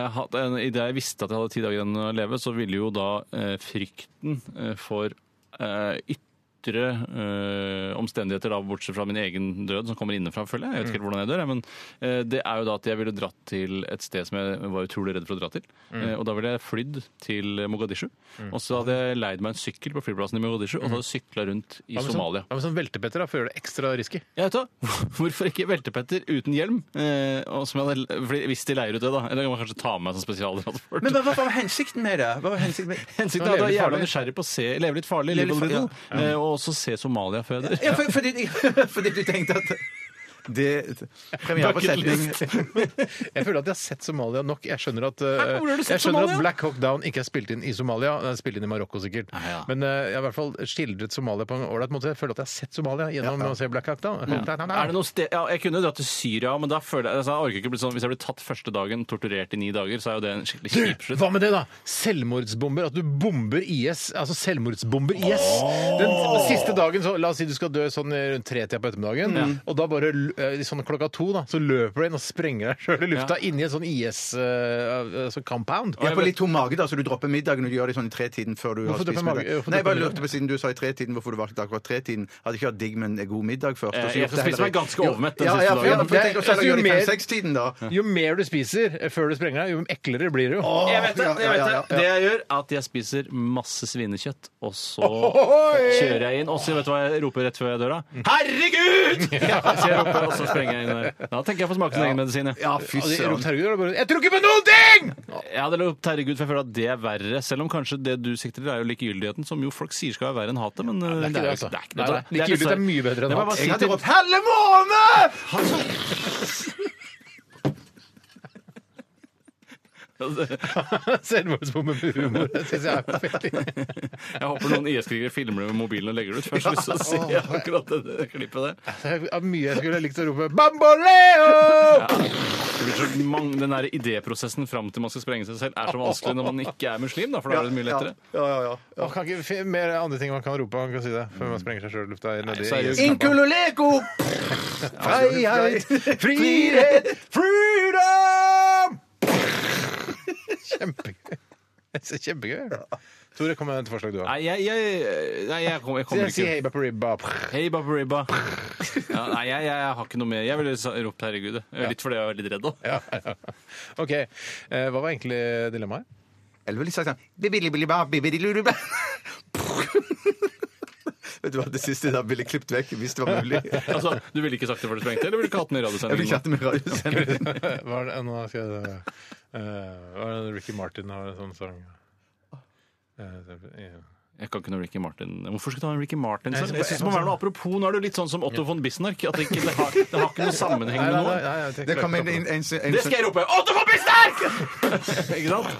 eh, hatt en, I det jeg visste at jeg hadde ti dager igjen å leve, så ville jo da eh, frykten eh, for eh, ytre eh, omstendigheter, da, bortsett fra min egen død, som kommer innenfra, føler jeg. Jeg Mm. vet ikke helt hvordan jeg dør, jeg, men eh, det er jo da at jeg ville dratt til et sted som jeg var utrolig redd for å dra til. Mm. Eh, og da ville jeg flydd til Mogadishu. Og så hadde jeg leid meg en sykkel på flyplassen i Mogadishu, og så hadde jeg sykla rundt i Hva med sånn, Somalia. hva med sånn veltepetter da, for å gjøre det ekstra risky? Jeg vet da, [LAUGHS] Hvorfor ikke veltepetter uten hjelm? Eh, og som jeg hadde, fordi Hvis de leier ut det, da. Eller kan man kanskje ta med meg sånn som spesialtransport. Men hva, hva var hensikten med det? Hva var hensikten med... Hensikten Nå er at lever jeg er litt jævla farlig. nysgjerrig på å se, leve litt farlig, live Leve a litt little, farlig, eh, og også se Somalia før jeg dør. Ja, for, fordi, [LAUGHS] fordi du tenkte at det Premiere på Bucket setning. [LAUGHS] Jeg føler at jeg har sett Somalia nok. Jeg skjønner at, eh, Hæ, hvor har du sett jeg skjønner at Somalia? Black Hawk Down ikke er spilt inn i Somalia. Den er spilt inn i Marokko, sikkert. Ah, ja. Men eh, jeg har i hvert fall skildret Somalia på en ålreit måte. Jeg føler at jeg har sett Somalia gjennom å se Black Hawk Down. Ja. Er det noe sted, ja, jeg kunne dratt til Syria, men da føler jeg, altså, jeg orker ikke bli sånn, hvis jeg blir tatt første dagen, torturert i ni dager, så er jo det en skikkelig kjip Du, slutt. hva med det, da? Selvmordsbomber. At du bomber IS. Altså selvmordsbomber IS. Den siste dagen, så La oss si du skal dø sånn rundt tretida på ettermiddagen. Og da bare l- eh, sånn klokka to, da, så løper du inn og sprenger deg sjøl i lufta inni en sånn IS-compound. Ja, på litt tom mage, da, så du dropper middagen og du gjør det sånn i tretiden før du har Hvorfor spist dropper middag. mage- hvorfor Nei, jeg bare dropper lurte på siden du sa i tretiden hvorfor du valgte akkurat tretiden. Hadde ikke hatt digg, men god middag først. og Eh, så jeg gjort det spiser heller meg ganske ikke. overmett den ja, siste ja, for- ja, dagen. for jeg tenker også Jo heller gjøre det i mer- fem-seks-tiden, da. Jo mer du spiser eh, før du sprenger deg, jo eklere blir du. jo. Jeg vet det! Ja, jeg ja, vet ja, Det Det jeg gjør, er at jeg spiser masse svinekjøtt, og så kjører jeg inn. Og så vet du hva jeg roper rett før jeg dør, Mm. da? [LAUGHS] Herregud! Så jeg roper, og så sprenger jeg inn der. Da tenker jeg på smaken sin egen medisin, jeg. Ja, fy Og de søren. ropte, herregud, og da bare, Jeg tror ikke på noen ting! Jeg hadde løpt herregud, for jeg føler at det er verre. Selv om kanskje det du sikter til, er jo likegyldigheten, som jo folk sier skal være verre enn hatet, men eh, det er ikke jo det, altså. det er ikke Nei, nei, Det likegyldighet er mye bedre enn Det må jeg bare hat. si Jeg hadde til- ropt 'Helle [LAUGHS] måne!' Selvmordsbombe med humor. Det syns jeg er veldig [LAUGHS] Jeg håper noen IS-krigere filmer det med mobilen og legger det ut. Først lyst til å si akkurat det, det klippet der. Det er mye jeg skulle likt å rope. Bamboleo! Det blir så mange, den der idéprosessen fram til man skal sprenge seg selv, er så vanskelig når man ikke er muslim, da, for da er det mye lettere. Ja, ja, ja. Man kan ikke fi- mer andre ting man kan rope, man kan si det, før man sprenger seg sjøl i lufta. i- nedi- seriøst. i- Inkuloleko! Frihet, frihet, freedom! Kjempegøy. Det er Kjempegøy. Tore, kom med et forslag du har. Nei, jeg, jeg, nei, jeg, kom, jeg kommer Si ikke hei, baparibba. Hei, babaribba. Ja, nei, jeg, jeg har ikke noe mer. Jeg ville sa- ropt 'herregud'. jeg. Litt fordi jeg var litt redd òg. Ja, [LAUGHS] ja. [LAUGHS] OK. Eh, Hva var egentlig [LAUGHS] dilemmaet? Eller ville sagt sånn bibilibiliba, bibililuluba. [LAUGHS] Vet du hva, det siste da ville jeg klippet vekk, hvis det var mulig. [LAUGHS] Altså, du ville ikke sagt det før du sprengte, eller ville du ikke hatt den i Jeg vil radiosendingen? ikke hatt det med radiosending. Hva er det nå skal jeg eh, Hva er det Ricky Martin har en sånn sang? Eh, ja. Jeg kan ikke noe Ricky Martin. Hvorfor skal du ha en Ricky Martin? Jeg Jeg synes synes det må være noe apropos. Nå er du litt sånn som Otto von Bismarck. At det, ikke, det, har, det har ikke noe sammenheng Nei, med nei, noe. nei, nei, jeg tenker Det kom inn ikke på en, det. en, en, en, Det skal jeg rope! Otto von Bismarck! [LAUGHS] ikke sant?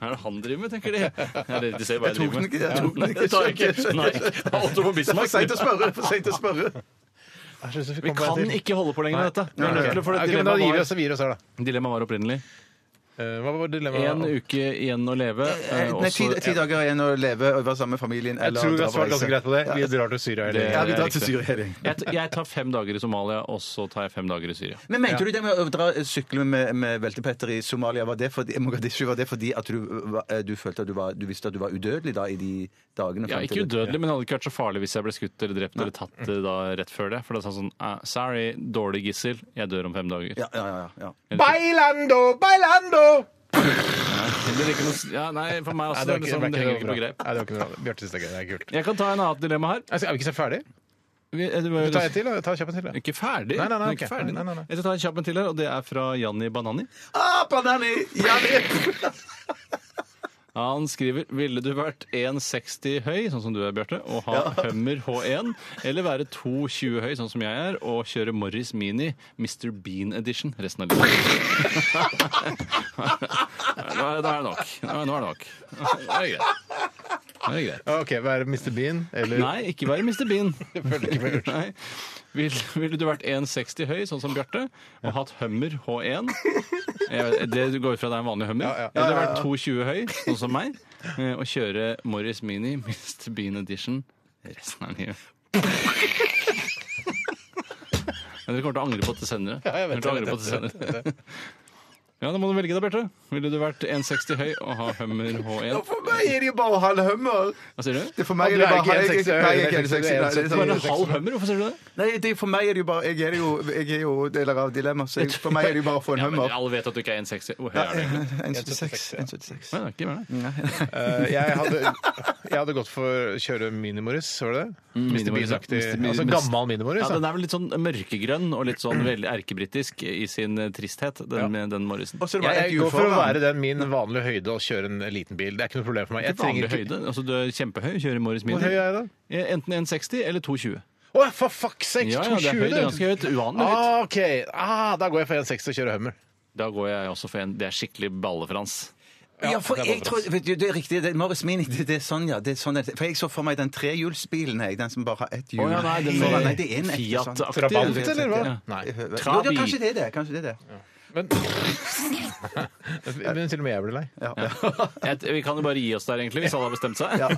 Hva er det han driver med, tenker de? Eller, de ser hva Jeg tok den ikke, jeg tok den Nei, ikke. det tar jeg ikke. Nei, Otto von Det er for Bismarck. seint å spørre! For sent [LAUGHS] å spørre. Jeg synes vi Vi kom på en kan til. ikke holde på lenger med dette. Vi er nødt til å- for Ok, det men da gir vi dilemmaet oss og gir oss her, da. var, dilemma var opprinnelig Eh, Hva var dilemmaet? én uke igjen å leve. eh, Nei, ti, også- ti dager igjen å leve og være sammen med familien. Jeg tror vi har svart ganske greit på det. Vi Ja, drar til Syria. Det- ja, vi drar riktig. til Syria. det. Jeg, t- jeg tar fem dager i Somalia, og så tar jeg fem dager i Syria. Men Mente du det med å dra sykle med, med veltepetter i Somalia? Var det fordi, Mogadishu, var det fordi at du, var- eh, du følte at du, var, du visste at du var udødelig da i de dagene? Ja, frem ikke til det? udødelig, men det hadde ikke vært så farlig hvis jeg ble skutt eller drept eller tatt eh, da rett før det. For det er sånn eh, Sorry, dårlig gissel. Jeg dør om fem dager. Ja, ja, ja, ja. Bailando, bailando! Det er ikke noe, s- ja, nei, for meg var også. det er liksom, det henger ikke på bra. greip. Nei, det var ikke noe bra. Bjarte synes det er gøy. Det er kult. Jeg kan ta en annen dilemma her. Altså, er vi ikke så ferdig? Vi, eh, det var jo Ta en til, da. Ta kjapp en til. da. Ikke ferdig. Nei, nei, nei, Den er ikke ok. ferdig. Nei, nei, nei. Jeg skal ta en kjapp en til her, og det er fra Janni Banani. Ah, banani! Ja, det- Han skriver Ville du vært 1,60 høy, sånn som du er, Bjarte, og ha Hummer H1, eller være 2,20 høy, sånn som jeg er, og kjøre Morris Mini Mr. Bean Edition resten av livet? [LAUGHS] Nå er nå er det nok. Nå er nå er det nok. Nå er det greit. Nå er det [LAUGHS] greit. Ah, OK, være Mr. Bean eller Nei, ikke være Mr. Bean. føler ikke med Nei. Vil- Ville du vært 1,60 høy, sånn som Bjarte, og hatt Hummer H1? Eh, Det du går ut fra det er en vanlig Hummer? Ja, ja. Ville du vært 2,20 høy, sånn som meg, eh, og kjøre Morris Mini Mr. Bean Edition resten av livet? Men dere kommer til å angre på dette senere. Ja, jeg vet Dere kommer til å det, angre på jeg vet dette senere. Ja, Da må du velge deg, Bjarte. Ville du vært 1,60 høy og ha Hummer H1? For meg er det jo bare halv hummer! Hva sier du? Det er for Ja, meg er du det er bare ikke 1,60, halv- Nei, du jeg er er ikke 1,60, nei, det er Bare en sånn- halv Hummer? Hvorfor sier du det? Nei, det, er- for meg er det jo bare Jeg er jo, jeg er jo deler av dilemmaet, så jeg, for meg er det jo bare å få en Ja, men hummer. alle vet at du ikke er 1,60. Hvor høy er du egentlig? 1,76. 1,76. Nei, det er ikke mer, nei. Eh, jeg, hadde, jeg hadde gått for å kjøre Minimoris, var det det? Mr. Mm, Minimoris, ja. Bean-aktig. Mr. Bean- Altså gammel Minimoris. Ja, da. den er vel litt sånn mørkegrønn og litt sånn veldig erkebrittisk i sin eh, tristhet, den, den Morrisen. Og så er Jeg, det bare jeg ett går hjul for å foran. være den min vanlige høyde og kjøre en liten bil. Det er ikke noe problem for meg. Jeg trenger Vanlig ikke høyde. Altså, du er kjempehøy, kjører Morris Mini. Hvor høy er jeg da? Eh, Enten 1,60 eller 2,20. Å, for fuck's sake! Ja, ja, det er 220, høyt. Det er du! ganske høyt. Uvanlig høyt. Ah, OK. Ah, da går jeg for 1,60 og kjører Hummer. Da går jeg også for en Det er skikkelig ballefrans. Ja, for det er jeg bare tror, vet du, det er riktig. Det er Morris Mini, det, det er sånn, ja. Det er sånn, det- for jeg så for meg den trehjulsbilen, jeg. Den som bare har ett hjul. Å ja, nei, den Foran, med nei, det er en ekte sånn. Fiat-aktig. Trabant, eller hva? Ja. Nei. Jo, ja, kanskje det er det. Kanskje det er det. Men, [LAUGHS] men til og med jeg ble lei. Jeg- Vi kan jo bare gi oss der, egentlig, hvis alle har bestemt seg. [LAUGHS] Ja.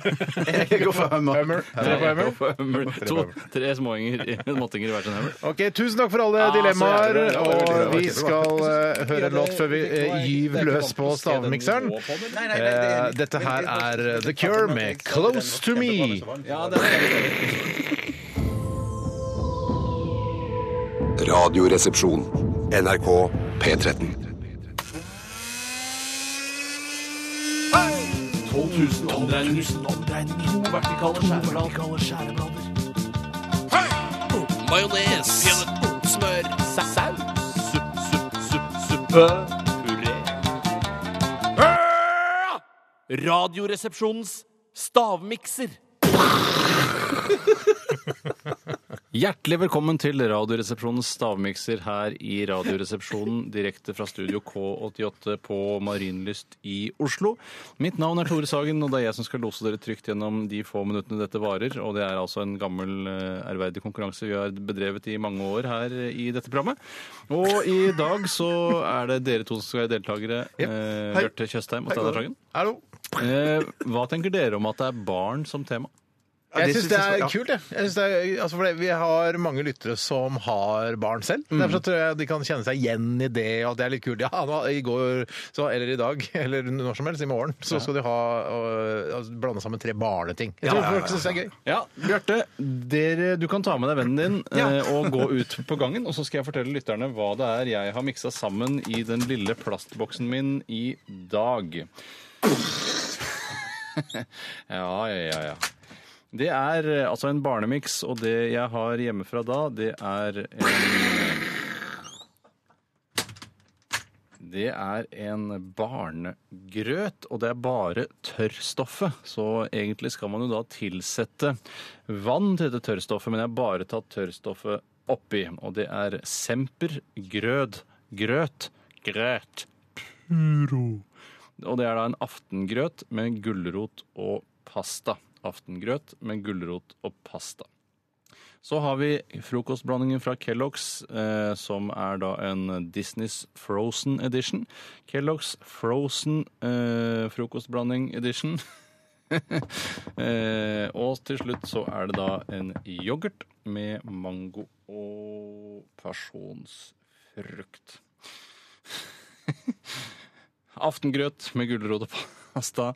[LAUGHS] Jeg går for hummer. Hummer. Tre på Hummer. To, tre småinger, i- [LAUGHS] måttinger i hver sin hammer. Ok, Tusen takk for alle Ah, så dilemmaer. jævlig bra. Og vi skal eh, høre en låt før vi eh, gyver løs på stavmikseren. Nei, nei, nei, det er Eh, litt- Dette her er The Cure med 'Close to Me'. Ja, det er Radioresepsjon. NRK P13. 12 000 omdreininger. To vertikale skjæreblader. Majones. Smør. Saus. Supp, supp, supp, suppe. Puré. Radioresepsjonens stavmikser. Hjertelig velkommen til Radioresepsjonens stavmikser her i Radioresepsjonen direkte fra studio K88 på Marienlyst i Oslo. Mitt navn er Tore Sagen, og det er jeg som skal lose dere trygt gjennom de få minuttene dette varer. Og det er altså en gammel eh, ærverdig konkurranse vi har bedrevet i mange år her i dette programmet. Og i dag så er det dere to som skal være deltakere. Eh, Hei. Bjarte Tjøstheim og Hei, Steinar Tore. Sagen. Eh, hva tenker dere om at det er barn som tema? Jeg syns det er kult, jeg. jeg synes det er, altså for det, vi har mange lyttere som har barn selv. Mm. Derfor så tror jeg de kan kjenne seg igjen i det, og at det er litt kult. Ja, nå, i går, så, eller i dag, [LAUGHS] eller når som helst, i morgen, så skal de ha øh, altså, blande sammen tre barneting. Jeg tror folk syns det er gøy. Ja, Bjarte, dere- du kan ta med deg vennen din eh, og gå ut på gangen, og så skal jeg fortelle lytterne hva det er jeg har miksa sammen i den lille plastboksen min i dag. [LAUGHS] Ja, ja, ja, ja. Det er eh, altså en barnemiks, og det jeg har hjemmefra da, det er en Det er en barnegrøt, og det er bare tørrstoffet. Så egentlig skal man jo da tilsette vann til dette tørrstoffet, men jeg har bare tatt tørrstoffet oppi. Og det er sempergrød. Grøt. Grøt. Puro. Og det er da en aftengrøt med gulrot og pasta. Aftengrøt med gulrot og pasta. Så har vi frokostblandingen fra Kellogg's, eh, som er da en Disneys Frozen Edition. Kellogg's Frozen eh, frokostblanding edition. [LAUGHS] eh, og til slutt så er det da en yoghurt med mango og pasjonsfrukt. Aftengrøt med gulrot og pasta.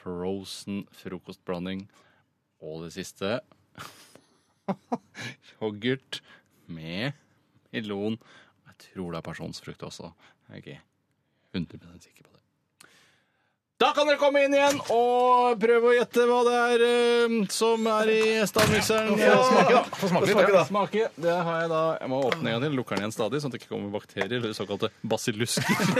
Frozen frokostblanding. Og det siste [LAUGHS] yoghurt med melon. Jeg tror det er personsfrukt også. Jeg er ikke 100 sikker på det. Da kan dere komme inn igjen og prøve å gjette hva det er eh, som er i stavmikseren. Få smake, da. Få smake litt, da. Smake. Det har jeg da. Jeg må åpne en gang til. Lukker den igjen stadig, sånn at det ikke kommer bakterier eller såkalte basillusker. [LAUGHS]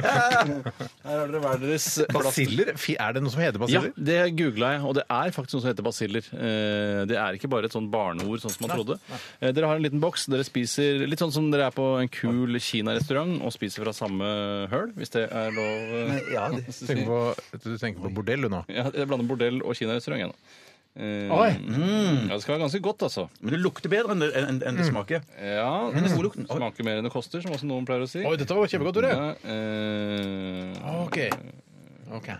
Her har dere hver deres Basiller? Fi- Er det noe som heter basiller? Ja, det googla jeg, og det er faktisk noe som heter basiller. Eh, Det er ikke bare et sånn barneord, sånn som man Nei, trodde. Eh, Dere har en liten boks, dere spiser litt sånn som dere er på en kul kinarestaurant og spiser fra samme høl, hvis det er lov. eh, å si. Du tenker på, du tenker på bordell, du nå? Ja, jeg blander bordell og kinarestaurant igjen. Eh, Oi. Ja, det skal være ganske godt, altså. Men det lukter bedre enn det, enn- enn det Mm. smaker. Ja, Men det er god det smaker mer enn det koster, som også noen pleier å si. Oi, dette var kjempegodt, Tore. Ja, eh, OK. Ok.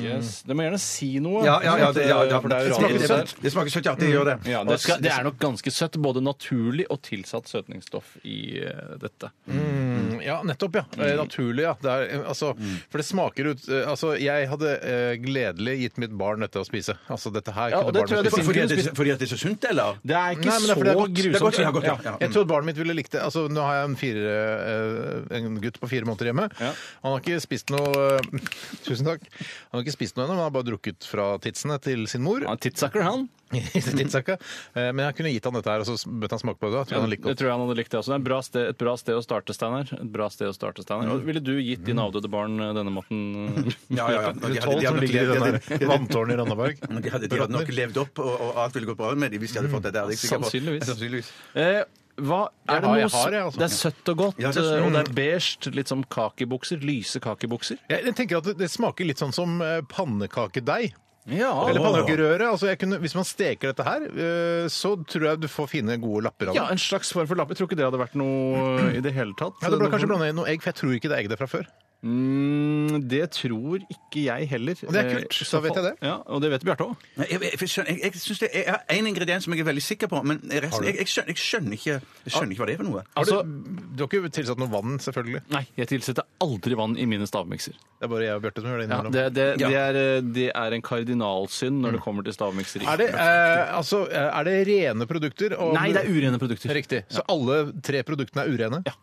Yes. Dere må gjerne si noe. Ja, ja, ja, for det, ja, ja. for det, er jo Det smaker radio- søtt. Det smaker søtt, ja, det gjør det. Ja, Og det, skal, s- det er nok ganske søtt. Både naturlig og tilsatt søtningsstoff i eh, dette. Mm, ja, nettopp, ja. Eh, Naturlig, ja. Det er, eh, altså, Mm. For det smaker ut eh, Altså, jeg hadde eh, gledelig gitt mitt barn dette å spise. Altså, dette her Ja, og det tror jeg barnet mitt definitivt Fordi at det, fordi at det er så sunt, eller? Det er ikke Nei, men det er fordi det er så godt. grusomt. Det er godt, ja, godt, ja. Ja. Mm. Jeg tror barnet mitt ville likt det. Altså, nå har jeg en, fire, eh, en gutt på fire måneder hjemme. Han har ikke spist noe [LAUGHS] eh, Tusen takk. Han har ikke spist noe ennå, men han har bare drukket fra titsene til sin mor. Han er [LAUGHS] tidssaker, han. Tidssaker. Eh, Men jeg kunne gitt han dette her, og så bød han smake på det. Jeg tror Ja, han det likte det. tror jeg han hadde likt, det også. Det er et bra sted, et bra sted å starte, Steinar. Et bra sted å starte, Steinar. Og Ville du gitt dine avdøde barn eh, denne maten? Ja, ja, ja. Bjarte? De hadde- de hadde- de hadde- de hadde- Vanntårnet i Randaberg. [LAUGHS] Men De hadde, de hadde nok levd opp, og, og alt ville gått bra med dem hvis de hadde fått det der. det er jeg sikker på. Sannsynligvis. Sannsynligvis. Eh, hva, Jeg er det, har- noe, jeg har, sø- jeg, altså. det er søtt og godt, Ja, det er søtt. eh, og det er beige. Litt som kakebukser. Lyse kakebukser. Jeg, jeg tenker at det, det smaker litt sånn som eh, pannekakedeig. Ja. Eller pannekakerøre. Altså jeg kunne, hvis man steker dette her, eh, så tror jeg du får fine, gode lapper av det. Ja, en slags form for lapp. Jeg tror ikke det hadde vært noe eh, i det hele tatt. Ja, det burde kanskje blande inn noe egg, for jeg tror ikke det er egg der fra før. Mm, det tror ikke jeg heller. Og det er kult, Eh, så vet jeg det. Ja, og det vet Bjarte òg. Nei, Jeg, jeg, jeg, skjønner- jeg, jeg synes det er én ingrediens som jeg er veldig sikker på, men Har resten du? jeg, jeg, skjønner, jeg, skjønner ikke, jeg skjønner ikke hva det er for noe. Har du, du har ikke tilsatt noe vann, selvfølgelig? Altså, Nei, jeg tilsetter aldri vann i mine stavmikser. Det er bare jeg og Bjarte som gjør det Ja, innimellom. det, det, det, er, eh, det er en kardinalsynd når det kommer til stavmikseri. er, det, eh, altså, eh, er det rene produkter? og- Nei, det er urene produkter. Riktig. Så alle tre produktene er urene? Ja.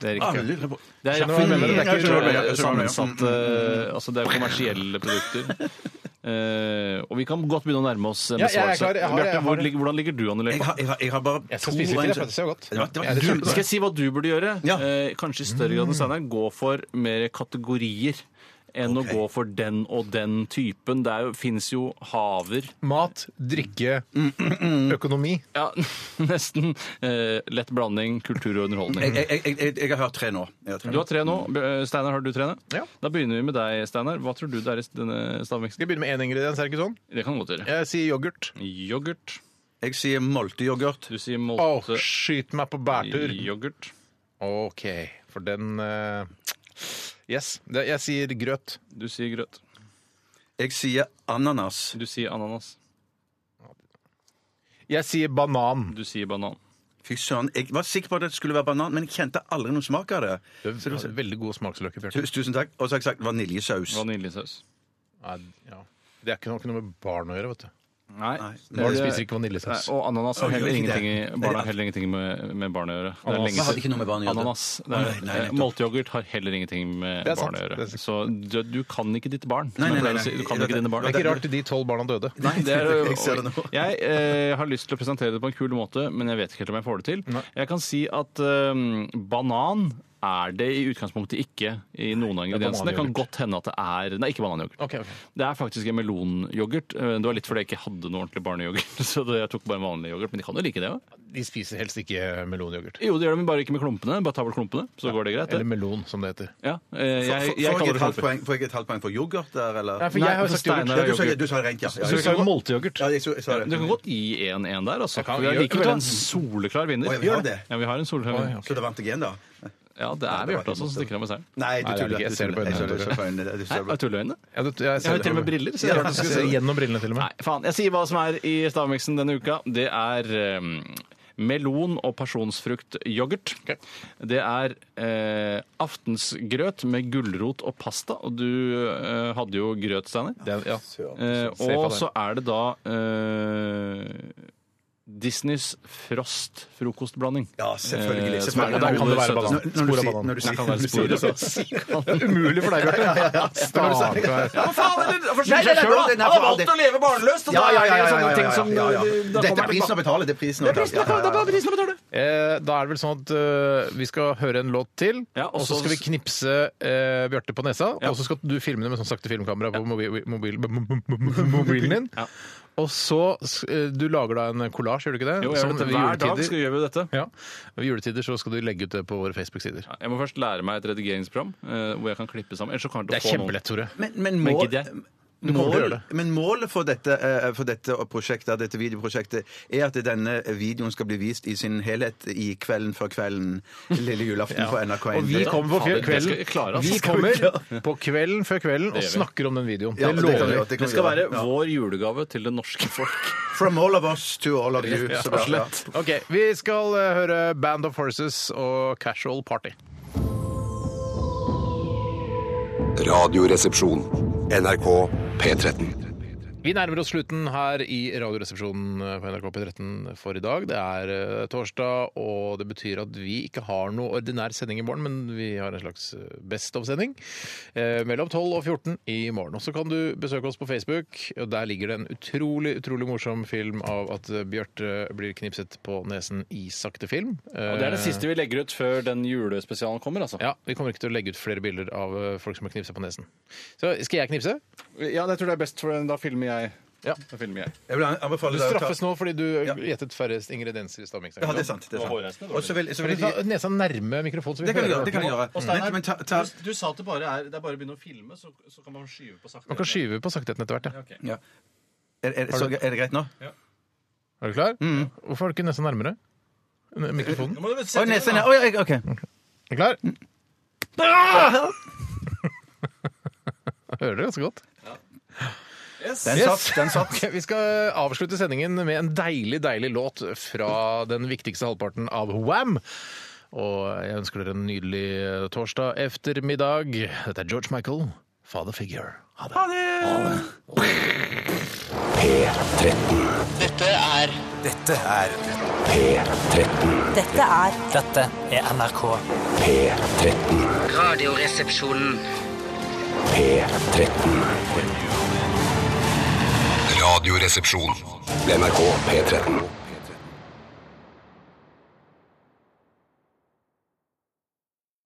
Det er Ah, Alle riktig. lurer på- Det er Skjønner hva jeg mener, det er ikke- Jeg ikke eh, skjønner hva jeg mener. sammensatte eh, Altså, det er kommersielle [LAUGHS] produkter. Eh, og vi kan godt begynne å nærme oss en Ja, jeg er besvarelse. klar, jeg har- jeg Bjarte, har hvor det. ligger- hvordan ligger du an i Jeg løypa? har, jeg har, jeg har bare Jeg skal spise litt til, for det ser jo godt. Det var- det var- Du, skal jeg si hva du burde gjøre? Ja. Eh, kanskje i større grad enn Steinar. Gå for mer kategorier. enn å gå for den og den typen. Det fins jo haver Mat, drikke, Mm, økonomi. Ja, [LAUGHS] nesten. Eh, lett blanding, kultur og underholdning. Jeg, jeg, jeg, jeg, jeg har hørt tre nå. Jeg har Du har tre nå. B- Steinar, har du tre? Ja. Da begynner vi med deg, Steinar. Hva tror du det er i denne stavmiksen? Skal jeg begynne med én ingrediens? er det ikke sånn? Det kan godt gjøre. Jeg sier yoghurt. Yoghurt. Jeg sier molteyoghurt. Du sier Å, molte skyt meg på bærtur! yoghurt. OK, for den eh, Yes. Det- Jeg sier grøt. Du sier grøt. Jeg sier ananas. Du sier ananas. Jeg sier banan. Du sier banan. Fy søren, jeg var sikker på at det skulle være banan, men jeg kjente aldri noen smak av det. Det er veldig gode smaksløker. Bjarte. Tusen, tusen takk. Og så har jeg sagt vaniljesaus. Vaniljesaus. Nei, ja. Det er ikke noe, ikke noe med barn å gjøre, vet du. Nei. Barn spiser ikke vaniljesaus. Nei, Og ananas har Oi, heller ikke det. ingenting, i- barn har heller ingenting med, med barn å gjøre. Det er Ananas lenge hadde siden. ikke noe med barn å gjøre. Ananas. det Nei, er- eh, nei, nettopp. Molteyoghurt har heller ingenting med Det er barn å sant, gjøre. det er Så du, du kan ikke ditt barn. Nei, som jeg nei, pleier å nei, si. Du nei. kan ikke dine barn. Det er ikke rart de tolv barna døde. Nei, Det er, jeg ser [LAUGHS] det nå. [LAUGHS] jeg eh, har lyst til å presentere det på en kul måte, men jeg vet ikke helt om jeg får det til. Jeg kan si at eh, banan er det i utgangspunktet ikke i noen av ingrediensene. Det kan bananyoghurt. godt hende at det er Nei, ikke bananyoghurt. Ok, ok. Det er faktisk en melonyoghurt. Eh, Det var litt fordi jeg ikke hadde noe ordentlig barneyoghurt, [LAUGHS] så det- jeg tok bare en vanlig yoghurt. Men de kan jo like det òg. De spiser helst ikke melonyoghurt. Jo, det gjør de, men bare ikke med klumpene. Bare ta bort klumpene, så går det greit. Eller det. melon, som det heter. Ja, eh, Får- jeg, jeg får- får kaller det jeg et halvt klumper. poeng- får jeg et halvt poeng for yoghurt der, eller? Nei, for Nei, jeg har jo for sagt yoghurt. Steinar Ja, er du sa, yoghurt. du sa rent, ja. ja. Så vi jeg- skal jo molteyoghurt. Ja, jeg, så- jeg sa Du det. kan godt gi 1-1 der, altså. kan- Vi har gjør- likevel en soleklar vinner. Oi, vi har det. Ja, vi har en soleklar vinner. Så da vant jeg igjen, da? Ja, det er Bjarte altså, som stikker av med seieren. Nei, Nei, det du er tuller. det ikke. Jeg Du ser det på tuller. øynene, Jeg ser det på øynene. Du Hæ, ser det var på- det tulleøyne? Ja, det- jeg Jeg ser har det. jo til og med briller. Så Ja, jeg jeg skal se gjennom brillene til og Nei, med. faen. Jeg sier hva som er i stavmiksen denne uka. Det er eh, melon og pasjonsfruktyoghurt. Det er eh, aftensgrøt med gulrot og pasta. Og du eh, hadde jo grøt, Steinar. Det, ja. Eh, Se på og det. så er det da eh, Disneys Frost-frokostblanding. Ja, Eh, selvfølgelig. selvfølgelig. som er- Da kan det være søteste. banan. Når- Spor av når du sier- banan. Når du Det [LAUGHS] kan være sier- når du spor av sier Umulig for deg, Bjarte. Stakkar. Ja, men faen! eller- for Nei, nei, seg nei, selv, da. nei, nei, Han har for all valgt å leve barnløst, og da Ja, ja, er ja, det ja, sånne ja, ting som ja, ja, ja. da Dette kommer er prisen å betale. Det er prisen å betale. Ja, ja, ja. prisen å betale! Eh, Da er det vel sånn at eh, vi skal høre en låt til, Ja, og og så så- skal vi knipse eh, Bjarte på nesa, Ja. og så skal du filme det med sånn sakte filmkamera på mobi- mobil- [LAUGHS] mobilen din. Ja. Og så s- eh, Du lager da en kollasj, gjør du ikke det? Jo, jeg Som vet det. ved Hver dag juletider- skal vi gjøre dette. ja. Ved juletider så skal du legge ut det på våre Facebook-sider. Ja, Jeg må først lære meg et redigeringsprogram eh, hvor jeg kan klippe sammen. Ellers så kan jeg Det er ikke få noen. kjempelett, Tore. Men, men, Men mål, gidder jeg? Du kommer til å mål, gjøre det. men målet for dette, eh, for dette prosjektet, dette videoprosjektet er at denne videoen skal bli vist i sin helhet i Kvelden før kvelden, [LAUGHS] lille julaften på NRK1. Og vi Det- kommer på Fader, kve- det skal kvelden, vi klare, altså. vi Skal vi [LAUGHS] kommer på kvelden før kvelden og gjør vi. snakker om den videoen. Ja, Det det kan vi lover gjøre, vi. kan Det vi skal være gjøre. Ja. vår julegave til det norske folk. From all of us to all of you. Rett og så bra, ja. slett. Ok, Vi skal eh, høre Band of Horses og Casual Party. Radioresepsjon. NRK P13. Vi nærmer oss slutten her i Radioresepsjonen på NRK P13 for i dag. Det er eh, torsdag, og det betyr at vi ikke har noe ordinær sending i morgen, men vi har en slags eh, Best of-sending eh, mellom 12 og 14 i morgen. Og så kan du besøke oss på Facebook, og der ligger det en utrolig utrolig morsom film av at eh, Bjarte blir knipset på nesen i sakte film. [LAUGHS] Eh, Og det er det siste vi legger ut før den julespesialen kommer, altså. Ja, Vi kommer ikke til å legge ut flere bilder av eh, folk som har knipsa på nesen. Så skal jeg knipse? Ja, jeg tror det er best, for da filmer jeg. Ja. Da filmer jeg. Jeg vil anbefale Du deg å ta- straffes nå fordi du eh, gjettet færrest ingredienser i stavmikseren. Ja, det er sant. Det er sant. Og så vil, så Kan vil du jeg, ta nesa nærme mikrofonen? så vi det kan hører vi gjøre. den? Det kan vi gjøre. Men, men ta, ta, Du sa at det bare er, å begynne å filme, så, kan man skyve på sakte. Man kan skyve på saktheten etter hvert. Ja. ja. er, er, så, er det greit nå? Er du klar? Mm. Hvorfor har du ikke nesa nærmere? N- Mikrofonen. Å, nesen er Å Oh, ja, jeg- OK. Er du klar? Mm. Ah! [LAUGHS] Hører dere ganske godt? Den Yes. satt. Den satt. Ok, vi skal avslutte sendingen med en deilig, deilig låt fra den viktigste halvparten av Wham! Og jeg ønsker dere en nydelig torsdag ettermiddag. Dette er George Michael, Father Figure. Ha det! P13. Dette er Dette er P13. Dette er Dette er NRK. P13. Radioresepsjonen. P13. Radioresepsjon. NRK P13.